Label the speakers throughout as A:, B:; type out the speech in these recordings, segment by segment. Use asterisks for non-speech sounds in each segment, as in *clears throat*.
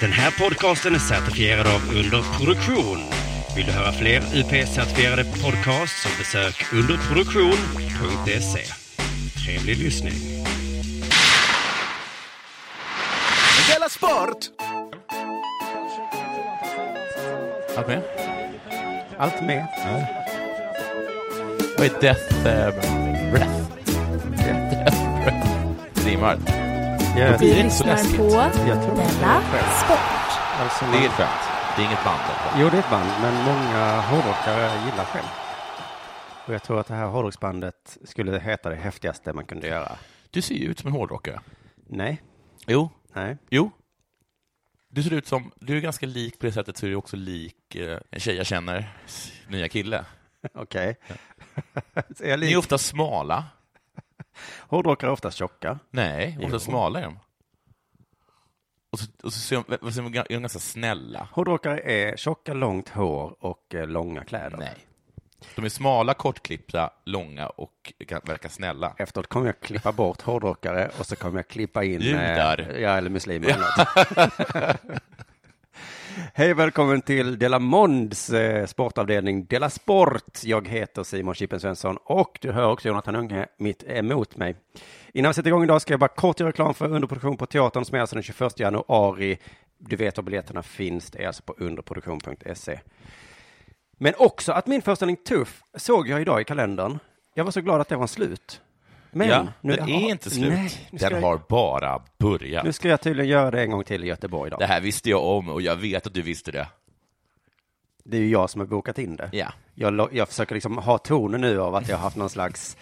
A: Den här podcasten är certifierad av Underproduktion. Vill du höra fler UP-certifierade podcasts så besök underproduktion.se. E. Trevlig lyssning.
B: Della Sport!
C: Allt med?
D: Allt med.
C: Vad är Death eh, Breath? Death Breath. Rimmar.
D: Jag,
C: Det
E: Du
C: är inte så läskigt.
E: lyssnar på
D: jag tror att det är
E: Della
D: själv.
E: Sport.
D: Alltså,
C: Det är
D: man,
C: ett skämt. Det är inget band. eller?
D: jo, det är ett band, men många hårdrockare gillar själv. Och jag tror att det här hårdrocksbandet skulle heta det häftigaste man kunde göra.
C: Du ser ju ut som en hårdrockare.
D: Nej,
C: Jo.
D: nej. *laughs*
C: Jo. Du ser ut som... Du är ganska lik på det sättet, så är du också lik eh, en tjej jag känner, s- nya kille.
D: Okej. Så är *laughs* jag
C: Ni är
D: lik?
C: ofta smala.
D: Hårdrockare är oftast tjocka.
C: Nej, ofta
D: Jo.
C: smala är de. Och så, och så ser de, vad säger man, är de ganska snälla.
D: Hårdrockare är tjocka, långt hår och eh, långa kläder.
C: Nej. De är smala, kortklippta, långa och kan verkar snälla.
D: Efteråt kommer jag klippa bort hårdrockare och så kommer jag klippa in... eh,
C: Judar.
D: Ja, eller muslimer. eller något. Hej välkommen till Dela Monds eh, sportavdelning Dela Sport. Jag heter Simon Chippen Svensson och du hör också Jonathan Unge mitt emot mig. Innan vi sätter igång idag ska jag bara kort göra reklam för underproduktion på teatern som är alltså den 21 januari. Du vet var biljetterna finns, det är alltså på underproduktion.se. Men också att min föreställning Tuff såg jag idag i kalendern. Jag var så glad att det var slut. Men
C: ja,
D: nu
C: den
D: jag
C: är
D: har-
C: inte slut.
D: Nej, nu ska
C: den
D: jag-
C: har bara börjat.
D: Nu ska jag tydligen göra det en gång till i Göteborg idag.
C: Det här visste jag om och jag vet att du visste det.
D: Det är ju jag som har bokat in det.
C: Ja.
D: Jag, lo- jag försöker liksom ha tonen nu av att jag har haft någon slags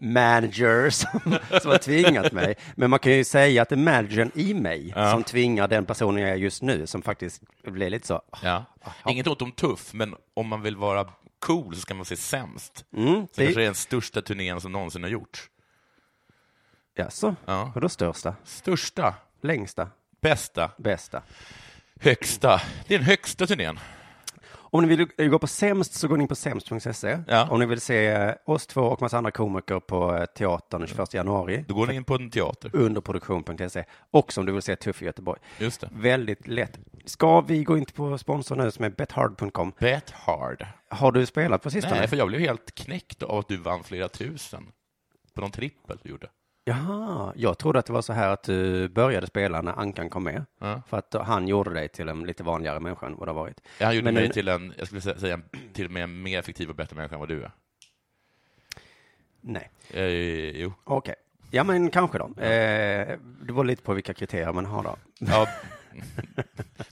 D: manager som, som har tvingat mig. Men man kan ju säga att det är managern i mig som tvingar den personen jag är just nu som faktiskt blir lite så.
C: Ja. Inget ont om tuff, men om man vill vara cool så ska man se sämst.
D: Mm,
C: Så
D: det
C: kanske det
D: är
C: är den största turnén som någonsin har gjorts.
D: Jaså?
C: Ja.
D: Vadå största?
C: Största,
D: Längsta?
C: bästa,
D: Bästa?
C: högsta. Det är den högsta turnén.
D: Om ni vill eh, gå på sämst så går ni in på sämst.se.
C: Ja.
D: Om ni vill se eh, oss två och massa andra komiker på eh, teatern den 21 januari.
C: Då går ni in på en teater.
D: underproduktion.se E. också om du vill se Tuff i Göteborg.
C: Just det.
D: Väldigt lätt. Ska vi gå in på sponsorn nu som är bethard.com?
C: Bet hard.
D: Har du spelat på sistone?
C: Nej, för jag blev helt knäckt av att du vann flera tusen på någon trippel du gjorde.
D: Jaha, jag trodde att det var så här att du började spela när Ankan kom med.
C: Ja.
D: För att han gjorde dig till en lite vanligare människa än vad det har varit.
C: Ja, Han gjorde
D: Men
C: mig
D: en-
C: till en, jag skulle sä- säga, en- till och med en mer effektiv och bättre människa än vad du är.
D: Nej,
C: Eh, jo.
D: okej. Ja, men kanske då. Eh, det var lite på vilka kriterier man har då. *laughs*
C: Ja.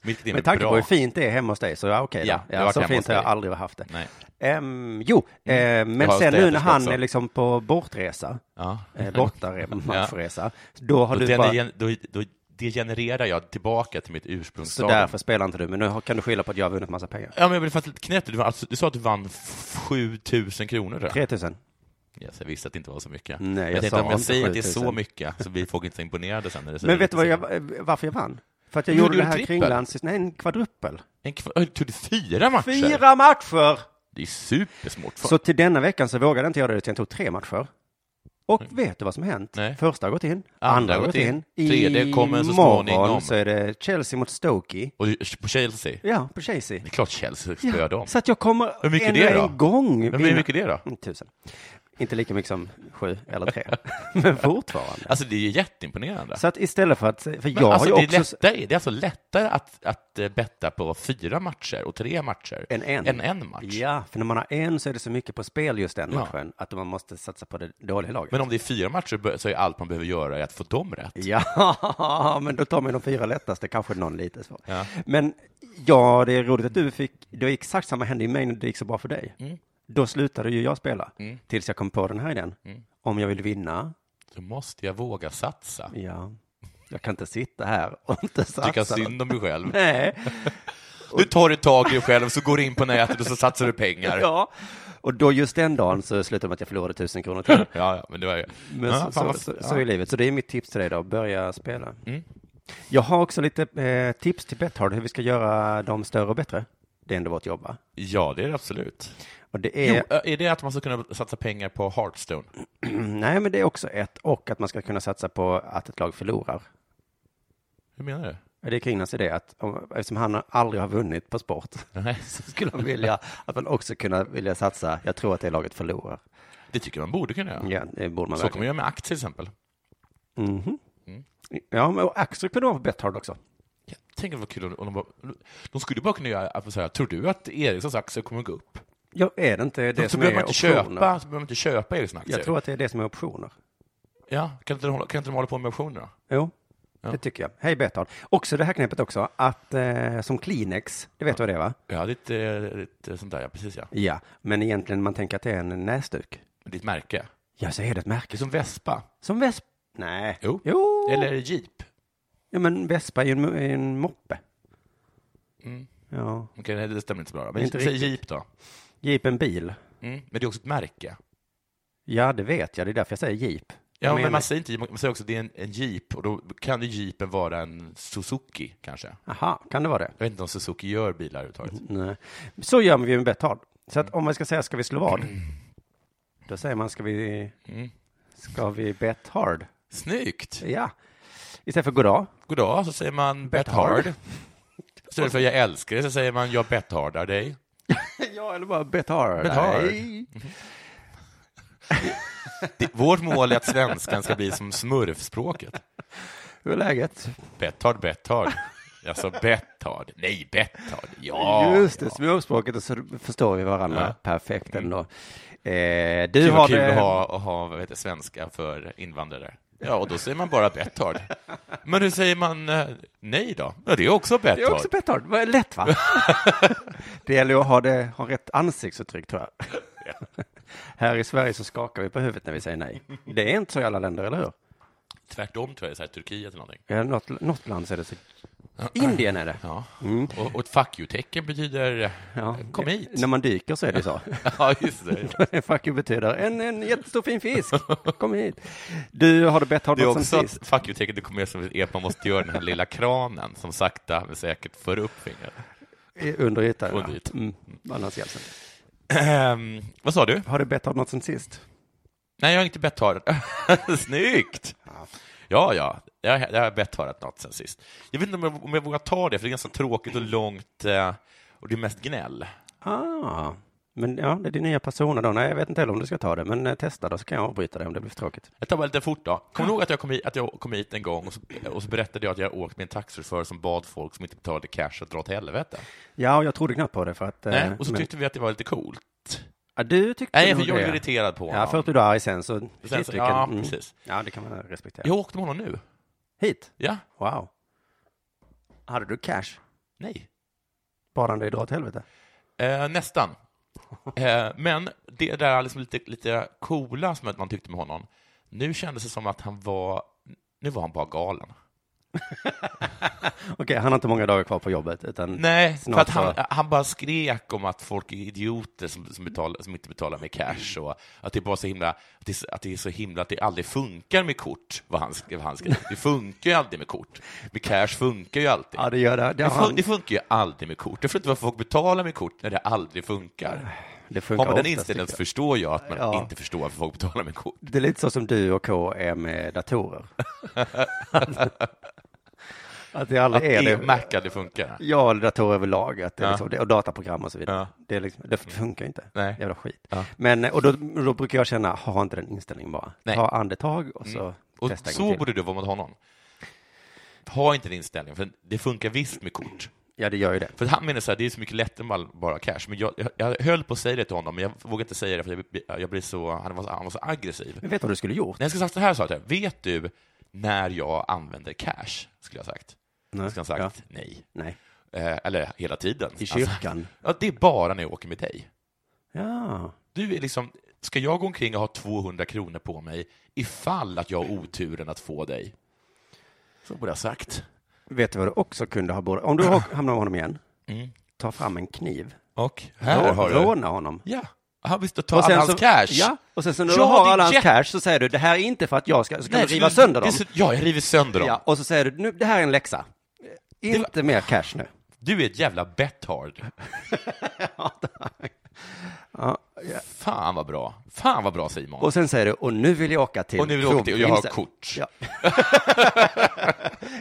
C: Mitt liv är
D: Med tanke
C: bra.
D: på hur fint det är hemma hos dig, så ja, okej. då.
C: Ja, jag har
D: ja,
C: varit
D: så
C: hemma
D: fint
C: hos
D: har jag
C: dig.
D: aldrig haft det.
C: Nej.
D: Ehm, jo, eh,
C: Jag
D: men
C: har
D: sen nu när
C: städerska
D: han
C: också. Mm.
D: är liksom på bortresa,
C: *laughs* Ja.
D: eh, bortaresa, då har
C: Då,
D: du bara,
C: gener- då, då degenererar jag tillbaka till mitt
D: så
C: ursprungsstadium.
D: därför spelar inte du, men nu har- kan du skylla på att jag har vunnit massa pengar.
C: Ja, men jag blev faktiskt lite knäpp. Du, var alltså, du sa att du vann f- 7 000 kronor. Då.
D: 3000.
C: Yes, jag visste att det inte var så mycket.
D: Nej,
C: Men
D: jag
C: tänkte,
D: sa
C: om jag
D: inte
C: säger att det är
D: 7
C: så
D: 000.
C: mycket så blir folk inte så imponerade sen. När det
D: Men vet du vad jag, eh, varför jag vann? För att jag
C: Du
D: gjorde
C: gjorde
D: det här
C: trippel.
D: kringlands... Nej, en kvadruppel.
C: En kva- Oj, Tog det fyra matcher?
D: Fyra matcher!
C: Det är supersmart. Fan.
D: Så till denna veckan så vågade jag inte göra det, utan jag tog tre matcher. Och vet du vad som hänt?
C: Mm. Nej.
D: Första har gått in, andra har gått in,
C: tredje kommer så
D: Imorgon
C: småningom.
D: så är det Chelsea mot Stoke.
C: Och på Chelsea?
D: Ja, på Chelsea.
C: Det är klart Chelsea
D: Ja,
C: spöar dem.
D: Så att jag kommer
C: Hur mycket
D: ännu
C: är det då?
D: en gång
C: Men
D: vinna-
C: hur mycket är det då?
D: Mm, Tusen. Inte lika mycket som sju eller tre, *laughs* men fortfarande.
C: Alltså det är ju jätteimponerande.
D: Så att istället för att, för
C: Men
D: jag
C: alltså,
D: har
C: det,
D: ju
C: är
D: också,
C: lättare, det är alltså lättare att, att eh, betta på fyra matcher och tre matcher
D: En en.
C: än en match.
D: ja, för när man har en så är det så mycket på spel just den
C: Ja.
D: matchen, att man måste satsa på det dåliga laget.
C: Men om det är fyra matcher bör- så är allt man behöver göra är att få dem rätt.
D: *laughs* Ja, men då tar man de fyra lättaste, kanske någon lite svår.
C: Ja.
D: Men ja, det är roligt att du fick, det var exakt samma hände i mig när det gick så bra för dig.
C: Mm.
D: Då slutade ju jag spela, tills jag kom på den här idén.
C: Mm.
D: Om jag vill vinna,
C: Då måste jag våga satsa.
D: Ja, jag kan inte sitta här och inte
C: Tycka
D: satsa. något.
C: synd om dig själv.
D: *laughs* Nej,
C: Du tar ett tag i dig själv, så går du in på nätet och så satsar du pengar. Ja,
D: ja. Och då just den dagen så slutade det med att jag förlorade tusen kronor till.
C: ja men det var ju...
D: Men
C: *laughs* ja,
D: så,
C: fan vad- Mm.
D: så, så,
C: ja.
D: så är livet. Så det är mitt tips till dig då, börja spela. Jag har också lite eh, tips till Betthard hur vi ska göra dem större och bättre. Det är ändå vårt jobb, va?
C: ja, det är det absolut.
D: Och det
C: Jo,
D: är,
C: eh, är det att man ska kunna satsa pengar på Hearthstone?
D: *clears throat* nej men det är också ett, och att man ska kunna satsa på att ett lag förlorar.
C: Hur menar du?
D: Det är Kringlands idé att om, eftersom han aldrig har vunnit på sport *laughs* så skulle han vilja att man också kunna vilja satsa. Jag tror att det laget förlorar.
C: Det tycker man borde kunna göra.
D: Ja, det borde man Mhm.
C: Så Mm. kan man göra med aktier till exempel.
D: Ja, men och Axel kunde vara på Betthard också.
C: Ja, Tänk vad kul om om de bara... De skulle bara kunna göra att säga, tror du att Ericssons aktier kommer gå upp?
D: Ja, är det inte det
C: så
D: som
C: behöver
D: är
C: man inte
D: optioner?
C: köpa, så behöver man inte köpa Ericssons aktier.
D: Jag tror att det är det som är optioner.
C: Ja, kan inte de hålla, kan inte de hålla på med optioner då?
D: Jo, det tycker jag. Hej Betthard. Också det här knepet också, att eh, som Kleenex, det vet du vad det är va?
C: Ja, lite, lite eh, sånt där, ja, precis ja.
D: Ja, men egentligen man tänker att det är en näsduk.
C: Ditt märke.
D: Ja, så är det ett
C: Det
D: märke.
C: är som Vespa.
D: Som Vespa? Nej.
C: Jo.
D: jo.
C: Eller Jeep.
D: Ja, men Vespa är ju en, är en moppe.
C: Mm.
D: Ja.
C: Okej, nej, det stämmer inte så bra. då. Men
D: Inte
C: säg
D: riktigt.
C: Jeep då.
D: Jeep en bil.
C: Mm. Men det är också ett märke.
D: Ja, det vet jag. Det är därför jag säger Jeep.
C: Ja,
D: Jag
C: men
D: menar-
C: man säger inte Jeep, man säger också att det är en, en Jeep och då kan ju Jeepen vara en Suzuki kanske.
D: Aha, kan det vara det?
C: Jag vet inte om Suzuki gör bilar överhuvudtaget.
D: Nej. Så gör vi ju med Betthard. Så att om man ska säga ska vi slå
C: *clears throat*
D: vad? Då säger man ska vi,
C: Mm.
D: ska vi bet hard?
C: Snyggt!
D: Ja. Istället för
C: *laughs*
D: goddag.
C: God dag, så säger man bet hard. Istället för jag älskar dig så säger man jag bet hardar dig.
D: ja, eller bara bet hard.
C: Bet hard.
D: Nej.
C: Det, vårt mål är att svenskan ska bli som smurfspråket.
D: Hur är läget?
C: Bet hard, bet hard. Alltså bet hard. Nej, bet hard. Ja.
D: Just det,
C: ja.
D: småspråket och så förstår vi varandra
C: Ja.
D: perfekt ändå. Eh, du
C: Kul,
D: har
C: vad kul
D: det...
C: att ha, att ha vad heter, det, svenska för invandrare. Ja, och då säger man bara betthard. Men hur säger man eh, nej då? Ja, det är också betthard.
D: Det är också bet hard. Vad Lätt va? *laughs* det gäller ju att ha, det, ha rätt ansiktsuttryck tror jag. *laughs* Här i Sverige så skakar vi på huvudet när vi säger nej. Det är inte så i alla länder, eller hur?
C: Tvärtom tror jag, så här, Turkiet eller någonting.
D: Ja, något, något land så är det så. Indien är det.
C: Ja.
D: Mm.
C: Och, och ett fuck you-tecken betyder
D: Ja.
C: kom hit.
D: När man dyker så är det så.
C: *laughs*
D: *laughs*
C: Ja, just det.
D: Fuck you betyder en, en jättestor fin fisk. Kom hit. Du, har du bett
C: Det är
D: honom
C: också
D: sen sist?
C: att fuck you-tecknet det kommer göra som är att man måste göra den här lilla kranen som sakta men säkert för upp fingret.
D: I- Under ytan.
C: Under ytan.
D: Mm. Annars hjälper det.
C: Ehm, vad sa du?
D: Har du bett honom något sen sist?
C: Nej, jag har inte betthard. *laughs* Snyggt! Ja, ja, jag, jag har betthard något sen sist. Jag vet inte om jag, om jag vågar ta det, för det är ganska tråkigt och långt eh, och det är mest gnäll.
D: Ah, men ja, det är din nya persona då. Nej, jag vet inte heller om du ska ta det, men eh, testa då så kan jag avbryta det om det blir för tråkigt.
C: Jag tar bara lite fort då. Kommer du ihåg att jag kom hit, att jag kom hit en gång och så, och så berättade jag att jag åkt med en taxichaufför som bad folk som inte betalade cash att dra åt helvete?
D: Ja, och jag trodde knappt på det för att... eh,
C: Nej, och så
D: men-
C: tyckte vi att det var lite coolt.
D: ja, du tyckte
C: Nej,
D: nog
C: för jag
D: det.
C: blev irriterad på honom.
D: Ja, först blev du arg sen så...
C: Sen
D: Shit,
C: så,
D: vilken-
C: ja,
D: mm.
C: precis.
D: Ja, det kan man respektera.
C: Jag åkte med honom nu.
D: Hit?
C: Ja,
D: Wow. Hade du cash?
C: nej.
D: Bad han dig dra åt helvete? *laughs*
C: Eh, nästan. Eh, men det där liksom lite, lite coola som man tyckte med honom, nu kändes det som att han var, nu var han bara galen.
D: Okej, han har inte många dagar kvar på jobbet, utan...
C: Nej,
D: Snart
C: för att han,
D: så-
C: han bara skrek om att folk är idioter som, som, betalar, som inte betalar med cash och att det bara så himla, att det, är så- att det är så himla att det aldrig funkar med kort, vad han, sk- vad han skrev. Det funkar ju aldrig med kort. Med cash funkar ju alltid.
D: Ja, det gör det. Det,
C: Det,
D: har
C: fun-
D: han,
C: det funkar ju aldrig med kort. Jag förstår inte varför folk betalar med kort när det aldrig funkar.
D: det
C: Har
D: funkar
C: man den
D: oftast,
C: inställningen så
D: tycker jag.
C: förstår jag att man
D: Ja.
C: inte förstår varför folk betalar med kort.
D: Det är lite så som du och K är med
C: *laughs*
D: datorer. att det
C: Att
D: aldrig är
C: det
D: det.
C: Mac aldrig funkar.
D: Ja, eller datorer överlag, att det är
C: Ja.
D: liksom, det- och dataprogram och så vidare.
C: Ja.
D: Det, är liksom, det funkar ju inte.
C: Nej.
D: Jävla skit.
C: Ja.
D: Men, och då, då brukar jag känna, ha inte den inställningen bara.
C: Nej. Mm.
D: Ta andetag och så
C: Och
D: testa en
C: så
D: gång till.
C: borde du vara mot honom. Ha inte den inställningen, för det funkar visst med kort.
D: Ja, det gör ju det.
C: För han menar så här, det är så mycket lättare med all- bara cash. Men jag, jag, jag höll på att säga det till honom, men jag vågade inte säga det för jag, blir- jag blir så, han, var, så- han var så aggressiv.
D: Men vet du vad du skulle gjort?
C: Nej, jag skulle sagt så här, sa jag, till honom, vet du när jag använder cash? Skulle jag ha sagt.
D: Nej.
C: Skulle han ha sagt nej.
D: Nej.
C: Eh, eller hela tiden.
D: I
C: Alltså,
D: kyrkan.
C: ja, det är bara när jag åker med dig.
D: Ja.
C: Du är liksom, ska jag gå omkring och ha 200 kronor på mig ifall att jag har oturen att få dig? Så borde jag ha sagt.
D: Vet du vad du också kunde ha borde... Om du hamnar med honom igen, ta fram en kniv.
C: Och
D: Rå-
C: här Mm. har du.
D: Råna honom.
C: Ja, han visste ta all
D: sen
C: hans
D: så,
C: cash.
D: Ja, och sen så när
C: Ja,
D: du har
C: det är
D: alla hans
C: jätte-
D: cash så säger du, det här är inte för att jag ska, så kan
C: Nej,
D: du riva
C: skulle-
D: sönder
C: det
D: dem.
C: är så- Ja, jag river sönder dem.
D: Ja, och så säger du, nu, det här är en läxa. Inte mer cash *laughs* nu.
C: Du är ett jävla betthard. Fan vad bra. Fan vad bra Simon.
D: Och sen säger du, och nu vill jag åka till
C: Och nu vill jag åka till- och jag har
D: Kronprinsen."
C: kort.
D: Ja.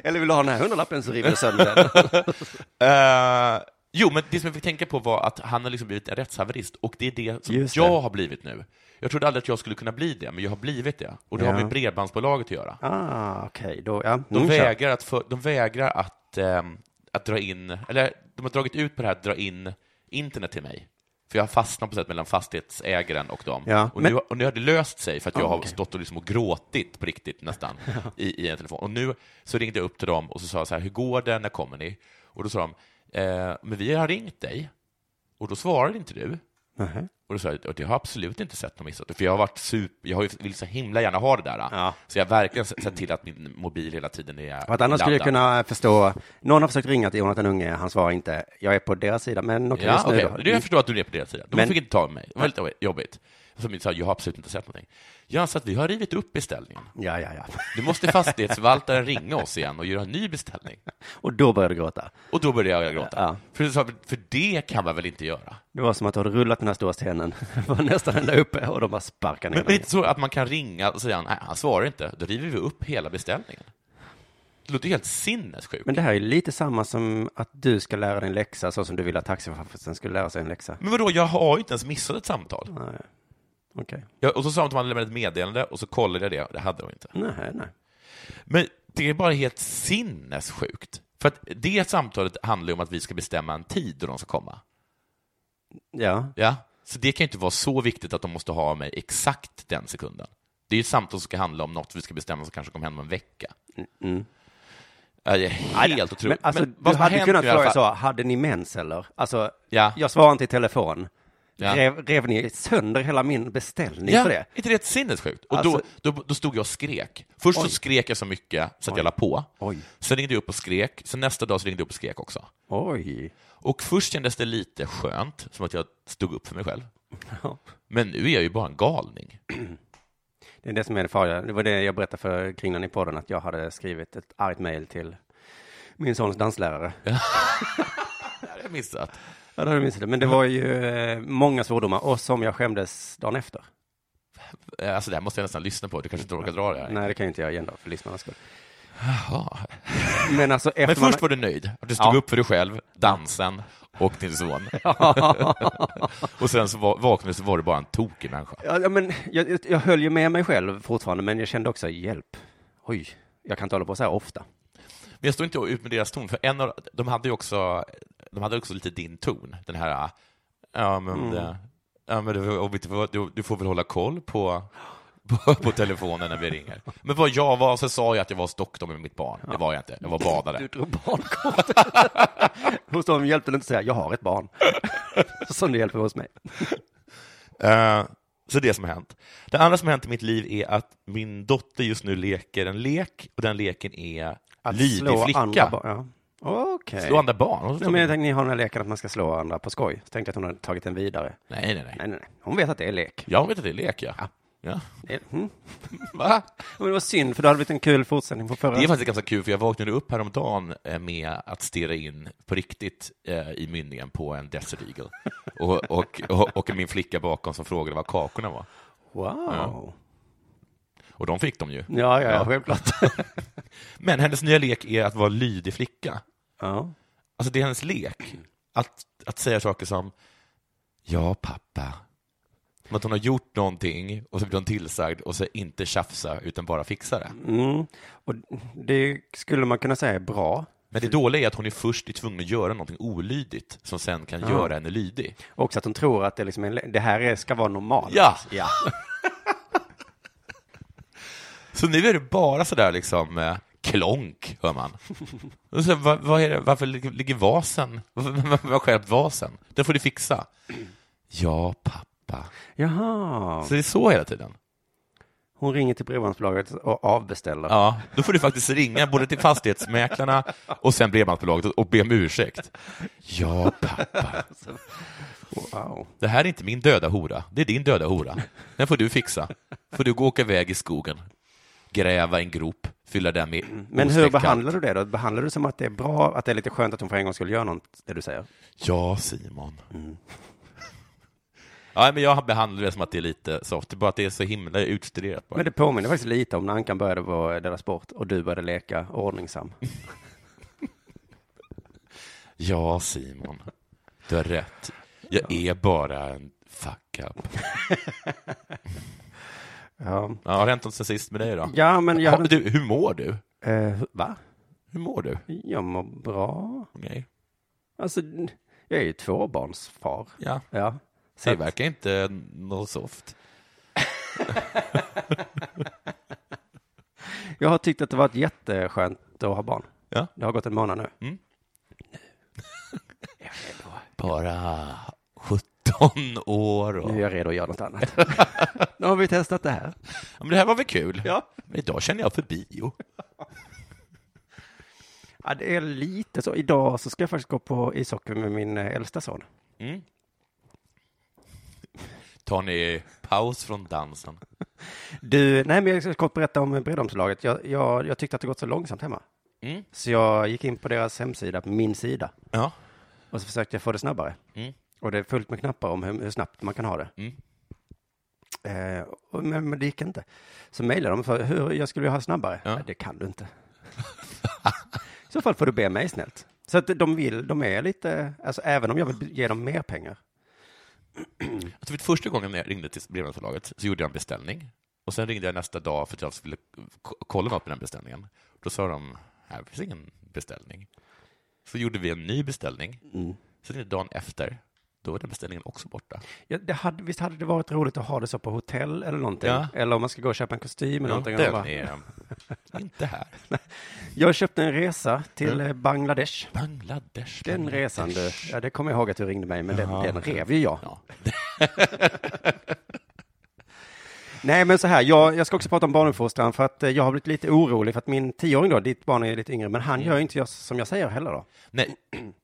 D: Eller vill du ha den här hundralappen så river *laughs* jag sönder den.
C: Eh, jo, men det som jag fick tänka på var att han har liksom blivit en rättshaverist, och det är det som
D: Just det.
C: jag har blivit nu. Jag trodde aldrig att jag skulle kunna bli det, men jag har blivit det. Och det
D: Ja.
C: har med Bredbandsbolaget att göra.
D: ah, okej. Då, ja.
C: De
D: Mm, kör.
C: vägrar, att, för, de vägrar att, ehm, att dra in, eller de har dragit ut på det här att dra in internet till mig. För jag har fastnat på sätt mellan fastighetsägaren och dem.
D: Ja,
C: och,
D: men-
C: nu, och nu har det löst sig för att jag
D: Ah,
C: har
D: okej.
C: stått och, liksom och gråtit på
D: *laughs*
C: riktigt nästan i, i en telefon. Och nu så ringde jag upp till dem och så sa jag så här, hur går det, när kommer ni? Och då sa de, eh, men vi har ringt dig och då svarade inte du.
D: Nähä.
C: Och då sa jag, och det har jag absolut inte sett något missat. För jag har varit super, jag har ju- vill så himla gärna ha det där.
D: Ja.
C: Så jag har verkligen se- sett till att min mobil hela tiden är
D: För att annars skulle jag
C: laddad.
D: kunna förstå, någon har försökt ringa till Jonathan Unge, han svarar inte, jag är på deras sida, men okej,
C: Ja,
D: just
C: okej.
D: nu då.
C: Nu jag förstår att du är på deras sida. De
D: Men-
C: fick inte tag i mig. Det var lite jobbigt. Som jag sa, jag har absolut inte sett någonting. Ja, så att vi har rivit upp beställningen.
D: Ja, ja, *laughs* ja.
C: Nu måste fastighetsförvaltaren *laughs* ringa oss igen och göra en ny beställning.
D: Och då började du gråta.
C: Och då började jag gråta.
D: Ja.
C: För, jag sa, för det kan man väl inte göra?
D: Det var som att du hade rullat den här stora stenen, Det *laughs* var nästan ända uppe och de bara sparkade ner
C: Men, men
D: den.
C: inte så att man kan ringa och säga, nej, han svarar inte. Då river vi upp hela beställningen. Det låter ju helt sinnessjukt.
D: Men det här är lite samma som att du ska lära dig en läxa, så som du vill att taxichauffören skulle lära sig en läxa.
C: Men vadå, jag har ju inte ens missat ett samtal.
D: Nej, okej.
C: Jag, och så sa de att man lämnade ett meddelande och så kollade jag det, det hade de inte.
D: Nej, nej.
C: Men det är bara helt sinnessjukt. För att det samtalet handlar ju om att vi ska bestämma en tid då de ska komma.
D: Ja,
C: Ja? Så det kan ju inte vara så viktigt att de måste ha mig exakt den sekunden. Det är ju ett samtal som ska handla om något vi ska bestämma som kanske kommer hända om en vecka. Ja, Det är helt otroligt.
D: Mm. Men, alltså,
C: Men vad
D: du
C: som har
D: hade
C: hänt
D: kunnat
C: nu i alla
D: fråga
C: fall-
D: så, hade ni mens eller? Alltså,
C: Ja.
D: jag svarar inte i telefon.
C: Ja.
D: Rev, rev ni sönder hela min beställning
C: Ja,
D: för det?
C: är inte det ett sinnessjukt? Och
D: Alltså-
C: då, då, då stod jag och skrek. Först så skrek jag så mycket så att jag la på.
D: Oj.
C: Sen ringde jag upp och skrek. Sen nästa dag så ringde jag upp och skrek också.
D: Oj.
C: Och först kändes det lite skönt, som att jag stod upp för mig själv.
D: Ja.
C: Men nu är jag ju bara en galning.
D: Det är det som är det farliga. Det var det jag berättade för Kringlan i podden, att jag hade skrivit ett argt mejl till min sons danslärare.
C: Det har jag missat.
D: Ja, det hade jag missat. Men det var ju eh, många svordomar och som jag skämdes dagen efter.
C: Eh, Alltså, det här måste jag nästan lyssna på. Du kanske inte orkar dra det här.
D: Nej, det kan jag inte göra igen då, för lyssnarnas skull. Men alltså, efter
C: *laughs* Men
D: man-
C: först var du nöjd. Att Du stod
D: Ja.
C: upp för dig själv, dansen och
D: *laughs*
C: din son. *laughs* och sen så va- vaknade du så var du bara en tokig människa.
D: Ja, ja, men jag, jag- jag höll ju med mig själv fortfarande, men jag kände också hjälp. Oj, jag kan inte hålla på så här ofta.
C: Men jag står inte ut med deras ton, för en av, de hade ju också, de hade också lite din ton, den här, ja men,
D: Mm.
C: det, ja, men du, om inte får- du, du får väl hålla koll på, på, på telefonen när vi ringer. Men vad jag var, så sa jag att jag var hos doktorn med mitt barn, det var jag inte, jag var badare.
D: drog barnkortet. *laughs* hos dem hjälpte det inte att säga, jag har ett barn. *laughs* Som det hjälper hos mig.
C: Eh, så det som har hänt. Det andra som har hänt i mitt liv är att min dotter just nu leker en lek, och den leken är
D: Att
C: lydig
D: slå
C: flicka.
D: andra barn. Ja. Okej.
C: Slå andra barn? Hon-
D: Ja, men jag tänkte, ni har den här leken att man ska slå andra på skoj. Så tänkte jag att hon hade tagit den vidare.
C: Nej, nej, nej.
D: Nej, nej, nej. Hon vet att det är lek.
C: Jag vet att det är lek, ja. ja.
D: Det- Mm.
C: Va?
D: Men det var synd, för det hade blivit en kul fortsättning på förra.
C: Det är faktiskt ganska kul, för jag vaknade upp häromdagen eh, med att stirra in på riktigt eh, i mynningen på en Desert Eagle. Och, och, och, och min flicka bakom som frågade var kakorna var.
D: Wow.
C: Och de fick de ju.
D: Ja, ja, ja, självklart.
C: Men hennes nya lek är att vara lydig flicka.
D: ja.
C: Alltså det är hennes lek. Att, att säga saker som ”Ja, pappa”. Som att hon har gjort någonting och så blir hon tillsagd och så inte tjafsa utan bara fixa det.
D: Mm. Och det skulle man kunna säga är bra.
C: Men det dåliga är att hon är först är tvungen att göra någonting olydigt som sen kan göra henne lydig.
D: Också att hon tror att det, liksom är, en- det här är- ska vara normalt.
C: Ja.
D: ja.
C: Så nu är det bara sådär liksom eh, klonk, hör man. Och så, vad, vad är det, varför lig- ligger vasen? Varför varför har jag stjälpt vasen? Den får du fixa. Ja, pappa.
D: Jaha.
C: Så det är så hela tiden?
D: Hon ringer till bredbandsbolaget och avbeställer.
C: Ja, då får du faktiskt ringa både till fastighetsmäklarna och sen bredbandsbolaget och be om ursäkt. Ja, pappa.
D: Wow.
C: Det här är inte min döda hora. Det är din döda hora. Den får du fixa. Får du gå och åka iväg i skogen, gräva en grop, fylla den med
D: Mm. Men hur
C: ostekt kalk.
D: behandlar du det då? Behandlar du det som att det är bra, att det är lite Mm. skönt att hon för en gång skulle göra något, det du säger?
C: Ja, Simon. Ja, men jag behandlar det som att det är lite soft, det är bara att det är så himla utstuderat. Bara.
D: Men det påminner faktiskt lite om när Ankan började på Della Sport och du började leka ordningsam.
C: Ja, Simon, du har rätt. Jag är bara en fuck up.
D: Ja,
C: Ja, har det hänt något sen sist med dig då?
D: ja men jag...
C: Har, du, hur mår du?
D: Eh, va?
C: Hur mår du?
D: Jag mår bra.
C: Okej.
D: Alltså, jag är ju tvåbarnsfar.
C: Ja.
D: Ja.
C: Det verkar inte något soft.
D: Jag har tyckt att det varit jätteskönt att ha barn.
C: Ja.
D: Det har gått en månad nu.
C: Bara 17 år och...
D: Nu är jag redo att göra något annat. *laughs* nu har vi testat det här.
C: Ja, men det här var väl kul?
D: Ja.
C: Men idag känner jag för bio.
D: Ja, det är lite så. Idag så ska jag faktiskt gå på ishockey med min eh, äldsta son.
C: Tar ni paus från dansen?
D: Du, nej men jag ska kort berätta om Bredholmslaget. Jag, jag, jag tyckte att det gått så långsamt hemma.
C: Mm.
D: Så jag gick in på deras hemsida, på min sida.
C: Ja.
D: Och så försökte jag få det snabbare.
C: Mm.
D: Och det är fullt med knappar om hur, hur snabbt man kan ha det.
C: Mm.
D: Eh, och, men, men det gick inte. Så mejlade de för hur jag skulle vilja ha det snabbare.
C: Ja.
D: Nej, det kan du inte. *laughs* I så fall får du be mig snällt. Så att de vill, de är lite, alltså även om jag vill ge dem mer pengar.
C: Jag tror att Alltså, första gången när jag ringde till brevlådsbolaget så gjorde jag en beställning. Och sen ringde jag nästa dag för att jag skulle k- kolla något med den beställningen. Då sa de, här finns ingen beställning. Så gjorde vi en ny beställning.
D: Mm.
C: Sen ringde dagen efter, då var den beställningen också borta.
D: Ja, det hade, visst hade det varit roligt att ha det så på hotell eller någonting?
C: Ja.
D: Eller om man ska gå och köpa en kostym eller någonting. Och
C: den
D: bara-
C: är
D: *laughs*
C: inte här.
D: Jag köpte en resa till eh,
C: Mm.
D: Bangladesh.
C: Bangladesh.
D: Den
C: Bangladesh.
D: resan du, ja det kommer jag ihåg att du ringde mig, men den, den rev ju jag.
C: Ja.
D: *laughs* Nej men så här, jag, jag ska också prata om barnuppfostran för att eh, jag har blivit lite orolig för att min tioåring då, ditt barn är lite yngre, men
C: Mm.
D: han gör ju inte jag, som jag säger heller då.
C: Nej.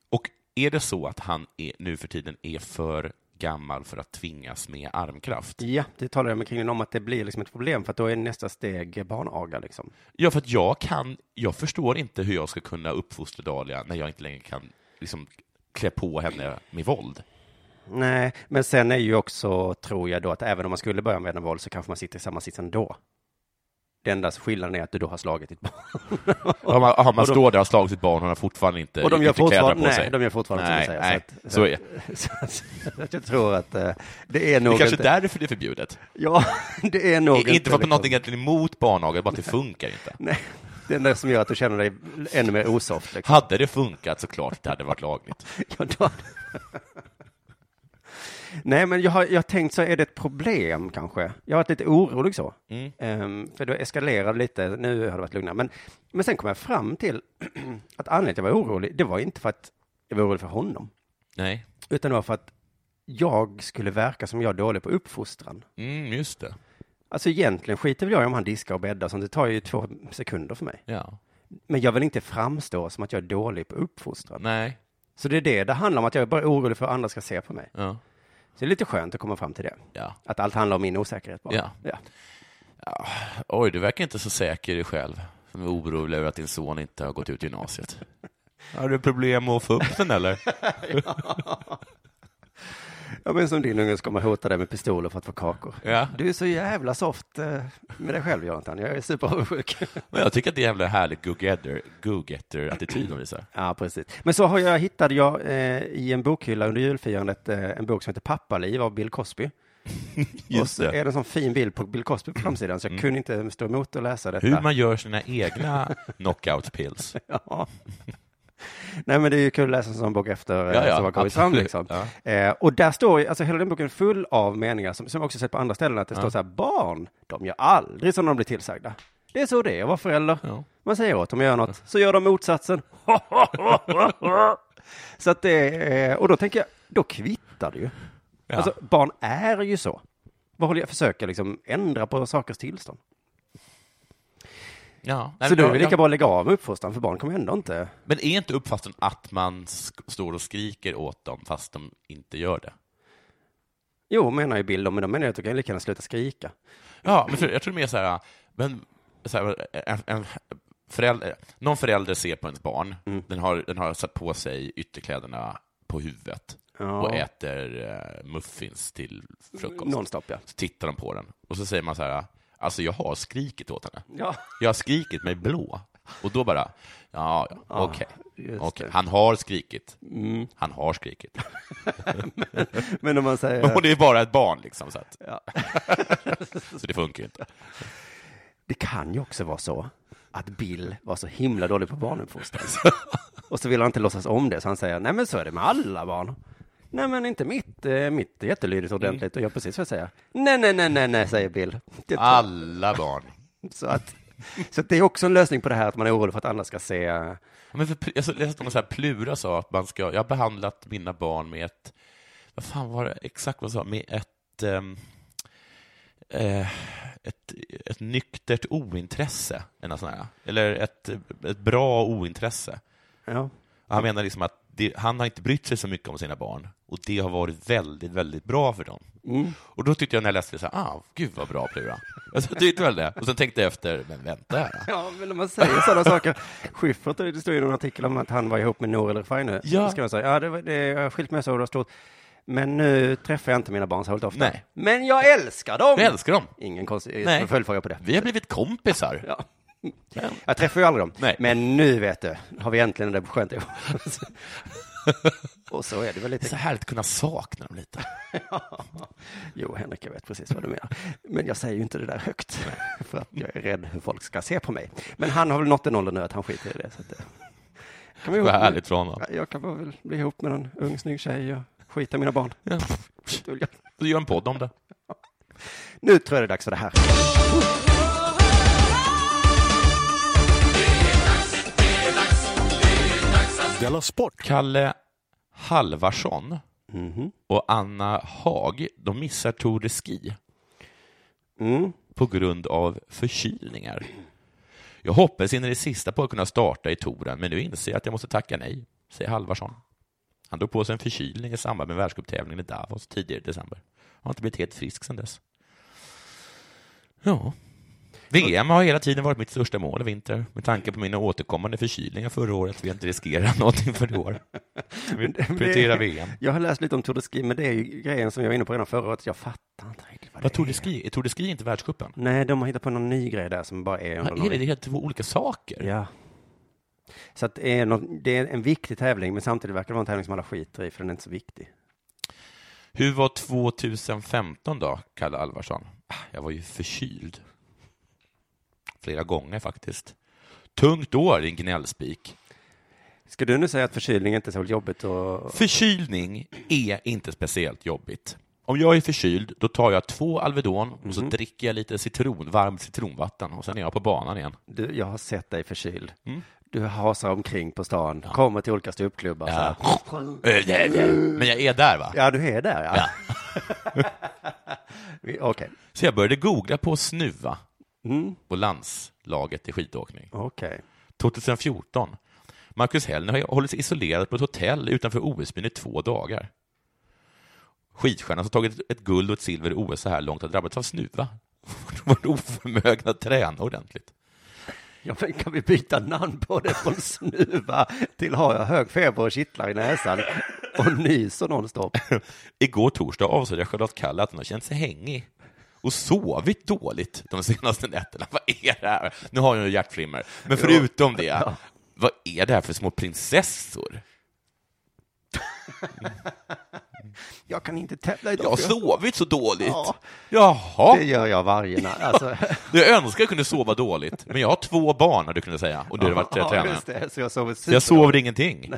C: Och är det så att han är, nu för tiden är för gammal för att tvingas med armkraft?
D: Ja, det talade jag med kringen om att det blir liksom ett problem för att då är nästa steg barnaga liksom.
C: Ja, för att jag kan, jag förstår inte hur jag ska kunna uppfostra Dahlia när jag inte längre kan liksom klä på henne med våld.
D: Nej, men sen är ju också, tror jag då, att även om man skulle börja med en våld så kanske man sitter i samma sits ändå. Den enda skillnaden är att du då har slagit ditt barn.
C: Om man, om man
D: de-
C: står där och slagit sitt barn och hon har fortfarande inte,
D: Och de gör
C: inte kläder
D: fortfarande,
C: på sig.
D: nej, de gör fortfarande
C: nej,
D: som du säger.
C: nej,
D: så att-
C: så är
D: *laughs*
C: det.
D: Så att- så att jag tror att eh, det är nog
C: Det är kanske
D: inte...
C: därför det är förbjudet.
D: Ja, *laughs* det är nog
C: Inte, inte för att
D: liksom-
C: någonting egentligen är emot
D: *laughs*
C: barnaga, bara att det funkar inte.
D: Nej, det är det som gör att du känner dig ännu mer osoft.
C: *laughs*
D: Liksom.
C: Hade det funkat så klart det hade varit lagligt.
D: Ja, då... Nej, men jag har, jag har tänkt så, är det ett problem kanske? Jag har varit lite orolig så.
C: Mm.
D: Ehm, för då eskalerade det lite, nu har det varit lugnare. Men, men sen kom jag fram till *clears throat* att anledningen till att jag var orolig, det var inte för att jag var orolig för honom.
C: Nej,
D: Utan det var för att jag skulle verka som jag är dålig på uppfostran.
C: mm, just det.
D: Alltså egentligen skiter väl jag i om han diskar och bäddar, så det tar ju två sekunder för mig.
C: Ja.
D: Men jag vill inte framstå som att jag är dålig på uppfostran.
C: Nej.
D: Så det är det det handlar om, att jag är bara orolig för vad andra ska se på mig.
C: Ja.
D: Så det är lite skönt att komma fram till det.
C: ja.
D: Att allt handlar om min osäkerhet bara.
C: Ja. Oj, du verkar inte så säker i dig själv. Som är orolig över att din son inte har gått ut gymnasiet. *laughs* Har du problem med att få upp den eller?
D: ja men som din unge ska man hota dig med pistoler för att få kakor.
C: *laughs* Ja.
D: Du är så jävla soft eh, med dig själv, Jonathan. Jag är superavundsjuk.
C: Men jag tycker att det är en jävla härlig go-getter, go-getter-attityd de visar.
D: ja, precis. Men så har jag, hittade jag eh, i en bokhylla under julfirandet eh, en bok som heter Pappaliv av Bill Cosby. och
C: Just
D: så
C: det. Mm.
D: är det en sån fin bild på Bill Cosby på framsidan, så jag kunde inte stå emot och läsa detta.
C: Hur man gör sina egna *laughs* knockout-pills.
D: Ja. Nej, men det är ju kul att läsa en sån bok efter ja,
C: Ja, ja,
D: som har kommit fram.
C: absolut.
D: Liksom. Eh, och där står ju, alltså hela den boken är full av meningar som, som jag också sett på andra ställen, att det står så här, barn, de gör aldrig som de blir tillsagda. Det är så det är att vara förälder.
C: Ja.
D: Man säger åt dem att göra något, så gör de motsatsen. *laughs* så att det, är- och då tänker jag, då kvittar det ju.
C: Ja.
D: Alltså, barn är ju så. Vad håller jag, försöker liksom ändra på sakers tillstånd.
C: Ja. Nej,
D: så då
C: men
D: är
C: jag-
D: det lika
C: jag-
D: bra att lägga av med uppfostran, för barn kommer ändå inte
C: Men är inte uppfattningen att man sk- står och skriker åt dem fast de inte gör det?
D: Jo, menar ju Bill då, men då menar jag att du kan lika gärna sluta skrika.
C: Ja, men för, jag tror mer så här, men, så här en, en förälder,
D: Mm.
C: någon förälder ser på ens barn, den, har, den har satt på sig ytterkläderna på huvudet
D: Ja.
C: och äter eh, muffins till frukost.
D: Nonstop, ja.
C: Så tittar de på den och så säger man så här, alltså jag har skrikit åt henne.
D: Ja.
C: Jag har skrikit mig blå. Och då bara, ja, ja, okej.
D: Ah, just
C: Okej.
D: det. Mm.
C: Han har skrikit. Han har skrikit.
D: *laughs*
C: *laughs*
D: Men om man säger...
C: Och det är bara ett barn liksom, så, att,
D: Ja.
C: *laughs* så det funkar ju inte.
D: Det kan ju också vara så att Bill var så himla dålig på barnuppfostran.
C: *laughs*
D: Och så vill han inte låtsas om det, så han säger, nej men så är det med alla barn. Nej men inte mitt, eh, mitt är jättelydigt och ordentligt och gör precis vad jag säger. Nej, nej, nej, nej, nej, säger Bill. Det-
C: Ah. Alla barn.
D: Så, att, så att det är också en lösning på det här att man är orolig för att andra ska se. eh,
C: Ja, Men för, jag så- läste om så här, Plura sa att man ska, jag har behandlat mina barn med ett, vad fan var det exakt vad jag sa, med ett, ehm, eh, ett, ett nyktert ointresse, eller, något sånt här, eller ett, ett bra ointresse.
D: Ja,
C: Han menar liksom att det, han har inte brytt sig så mycket om sina barn och det har varit väldigt, väldigt bra för dem.
D: Mm.
C: Och då tyckte jag när jag läste det så här, ah, gud vad bra Plura. *laughs* Alltså, jag tyckte väl det. Och sen tänkte jag efter, men vänta här.
D: ja men om man säger sådana saker. Schyffert, det står ju i någon artikel om att han var ihop med Nour eller Refai
C: Ja.
D: Då ska man säga, ja, det, var- det, jag har skilt mig så och det var stort. Men nu träffar jag inte mina barn särskilt ofta.
C: Nej.
D: Men jag älskar dem!
C: Jag älskar dem.
D: Ingen konstig
C: Nej.
D: eh, följdfråga på det.
C: Vi har blivit kompisar.
D: Ja. Jag träffar ju aldrig dem.
C: Nej.
D: Men nu vet du, har vi äntligen det skönt ihop. *laughs* Och så är det väl
C: Det är så
D: lite.
C: härligt att kunna sakna dem lite.
D: *laughs* Jo, Henrik, jag vet precis vad du menar. Men jag säger ju inte det där högt. *laughs* För att jag är rädd hur folk ska se på mig. Men han har väl nått en ålder nu att han skiter i det. Så att det... Kan vi
C: Vad härligt för honom.
D: Jag kan väl bli ihop med en ung snygg tjej och skita i mina barn.
C: Ja.
D: Det vill jag.
C: Du gör en podd om det.
D: Nu tror jag det är dags för det här.
B: Della Sport!
C: Kalle Halvarsson
D: Mhm.
C: och Anna Haag, de missar Tour de Ski
D: Mm.
C: på grund av förkylningar. Jag hoppades in i det sista på att kunna starta i touren, men nu inser jag att jag måste tacka nej, säger Halvarsson. Han drog på sig en förkylning i samband med världscuptävlingen i Davos tidigare i december. Har inte blivit helt frisk sedan dess. Ja. VM har hela tiden varit mitt största mål i vinter, med tanke på mina återkommande förkylningar förra året vill jag inte riskera *laughs* någonting för i år. Vi prioriterar VM.
D: Jag har läst lite om Tour de Ski, men det är ju grejen som jag var inne på redan förra året. Jag fattar inte riktigt vad det
C: Vad tog
D: är.
C: det ski? Är Tour de Ski inte världscupen?
D: Nej, de har hittat på någon ny grej där som bara är under
C: Ja, Är det, det är helt två olika saker?
D: Ja. Så att det, är någon, det är en viktig tävling, men samtidigt verkar det vara en tävling som alla skiter i, för den är inte så viktig.
C: Hur var 2015 då, Kalle Alvarsson? Ah, Jag var ju förkyld. Flera gånger faktiskt. Tungt år, din gnällspik.
D: Ska du nu säga att förkylning inte är så jobbigt? Och...
C: Förkylning är inte speciellt jobbigt. Om jag är förkyld, då tar jag två Alvedon och så dricker jag lite citron, varmt citronvatten och sen är jag på banan igen.
D: Du, jag har sett dig förkyld. Du hasar omkring på stan, kommer till olika ståuppklubbar. Ja.
C: Men jag är där, va?
D: ja, du är där, ja. *laughs* Vi- Okej,
C: Så jag började googla på snuva på landslaget i skidåkning.
D: okej.
C: 2014. Marcus Hellner har hållits isolerad på ett hotell utanför OS-byn i två dagar. Skidstjärnan som tagit ett guld och ett silver i OS så här långt har drabbats av snuva. *laughs* Varit oförmögen att träna ordentligt.
D: Ja, men kan vi byta namn på det från snuva till har jag hög feber och kittlar i näsan och nyser nonstop?
C: Igår torsdag avslöjade Charlotte Kalla att hon har känt sig hängig och sovit dåligt de senaste nätterna. Vad är det här? Nu har hon ju hjärtflimmer. Men förutom det, vad är det här för små prinsessor?
D: Jag kan inte tävla idag.
C: Jag har
D: för
C: sovit så dåligt.
D: Ja.
C: Jaha.
D: Det gör jag varje natt. Alltså,
C: Du önskar jag kunde sova dåligt, men jag har två barn, hade du kunnat säga, och du hade varit
D: ja,
C: tränare.
D: just det, så jag sover
C: Så jag sover ingenting.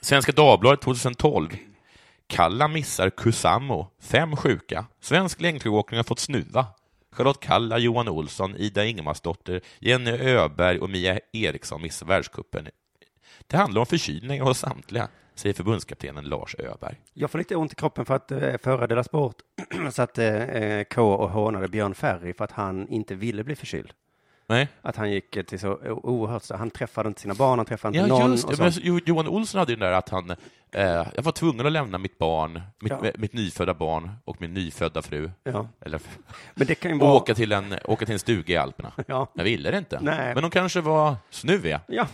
C: Svenska Dagbladet 2012. Kalla missar Kusamo. Fem sjuka. Svensk längdskidåkning har fått snuva. Charlotte Kalla, Johan Olsson, Ida Ingemarsdotter, Jenny Öberg och Mia Eriksson missar världscupen. Det handlar om förkylningar hos samtliga, säger förbundskaptenen Lars Öberg.
D: Jag får lite ont i kroppen för att eh, förra Dela Sport *clears throat* satt eh, K och hånade Björn Ferry för att han inte ville bli förkyld.
C: Nej,
D: Att han gick eh, till så o- oerhört, så han träffade inte sina barn, han träffade inte
C: ja,
D: någon.
C: just det.
D: och
C: Men
D: sånt.
C: Jo- Johan Olsson hade ju den där att han, eh, jag var tvungen att lämna mitt barn, mitt,
D: Ja.
C: mitt nyfödda barn och min nyfödda fru.
D: Ja.
C: Eller,
D: Men det kan ju
C: och
D: vara...
C: åka till, en, åka till en stuga i Alperna.
D: Ja.
C: Jag ville det inte.
D: Nej.
C: Men de kanske var snuviga.
D: Ja.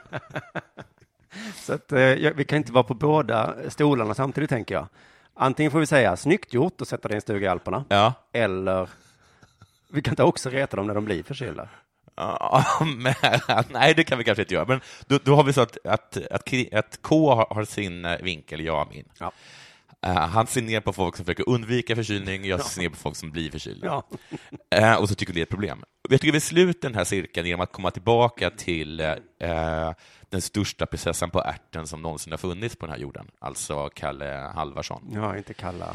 D: *laughs* Så att, eh, jag- vi kan inte vara på båda stolarna samtidigt, tänker jag. Antingen får vi säga snyggt gjort och sätta dig i en stuga i Alperna,
C: Ja.
D: eller vi kan inte också reta dem när de blir förkylda.
C: Ja, *laughs* men, nej, det kan vi kanske inte göra. Men då, då har vi så att, att, att, kri- att K har, har sin eh, vinkel, jag har min.
D: Ja.
C: Eh, han ser ner på folk som försöker undvika förkylning, jag ser ner på folk som blir förkylda.
D: Ja.
C: Eh, och så tycker vi det är ett problem. Jag tycker vi sluter den här cirkeln genom att komma tillbaka till eh, den största prinsessan på ärten som någonsin har funnits på den här jorden, alltså Kalle Halvarsson.
D: ja, inte kalla,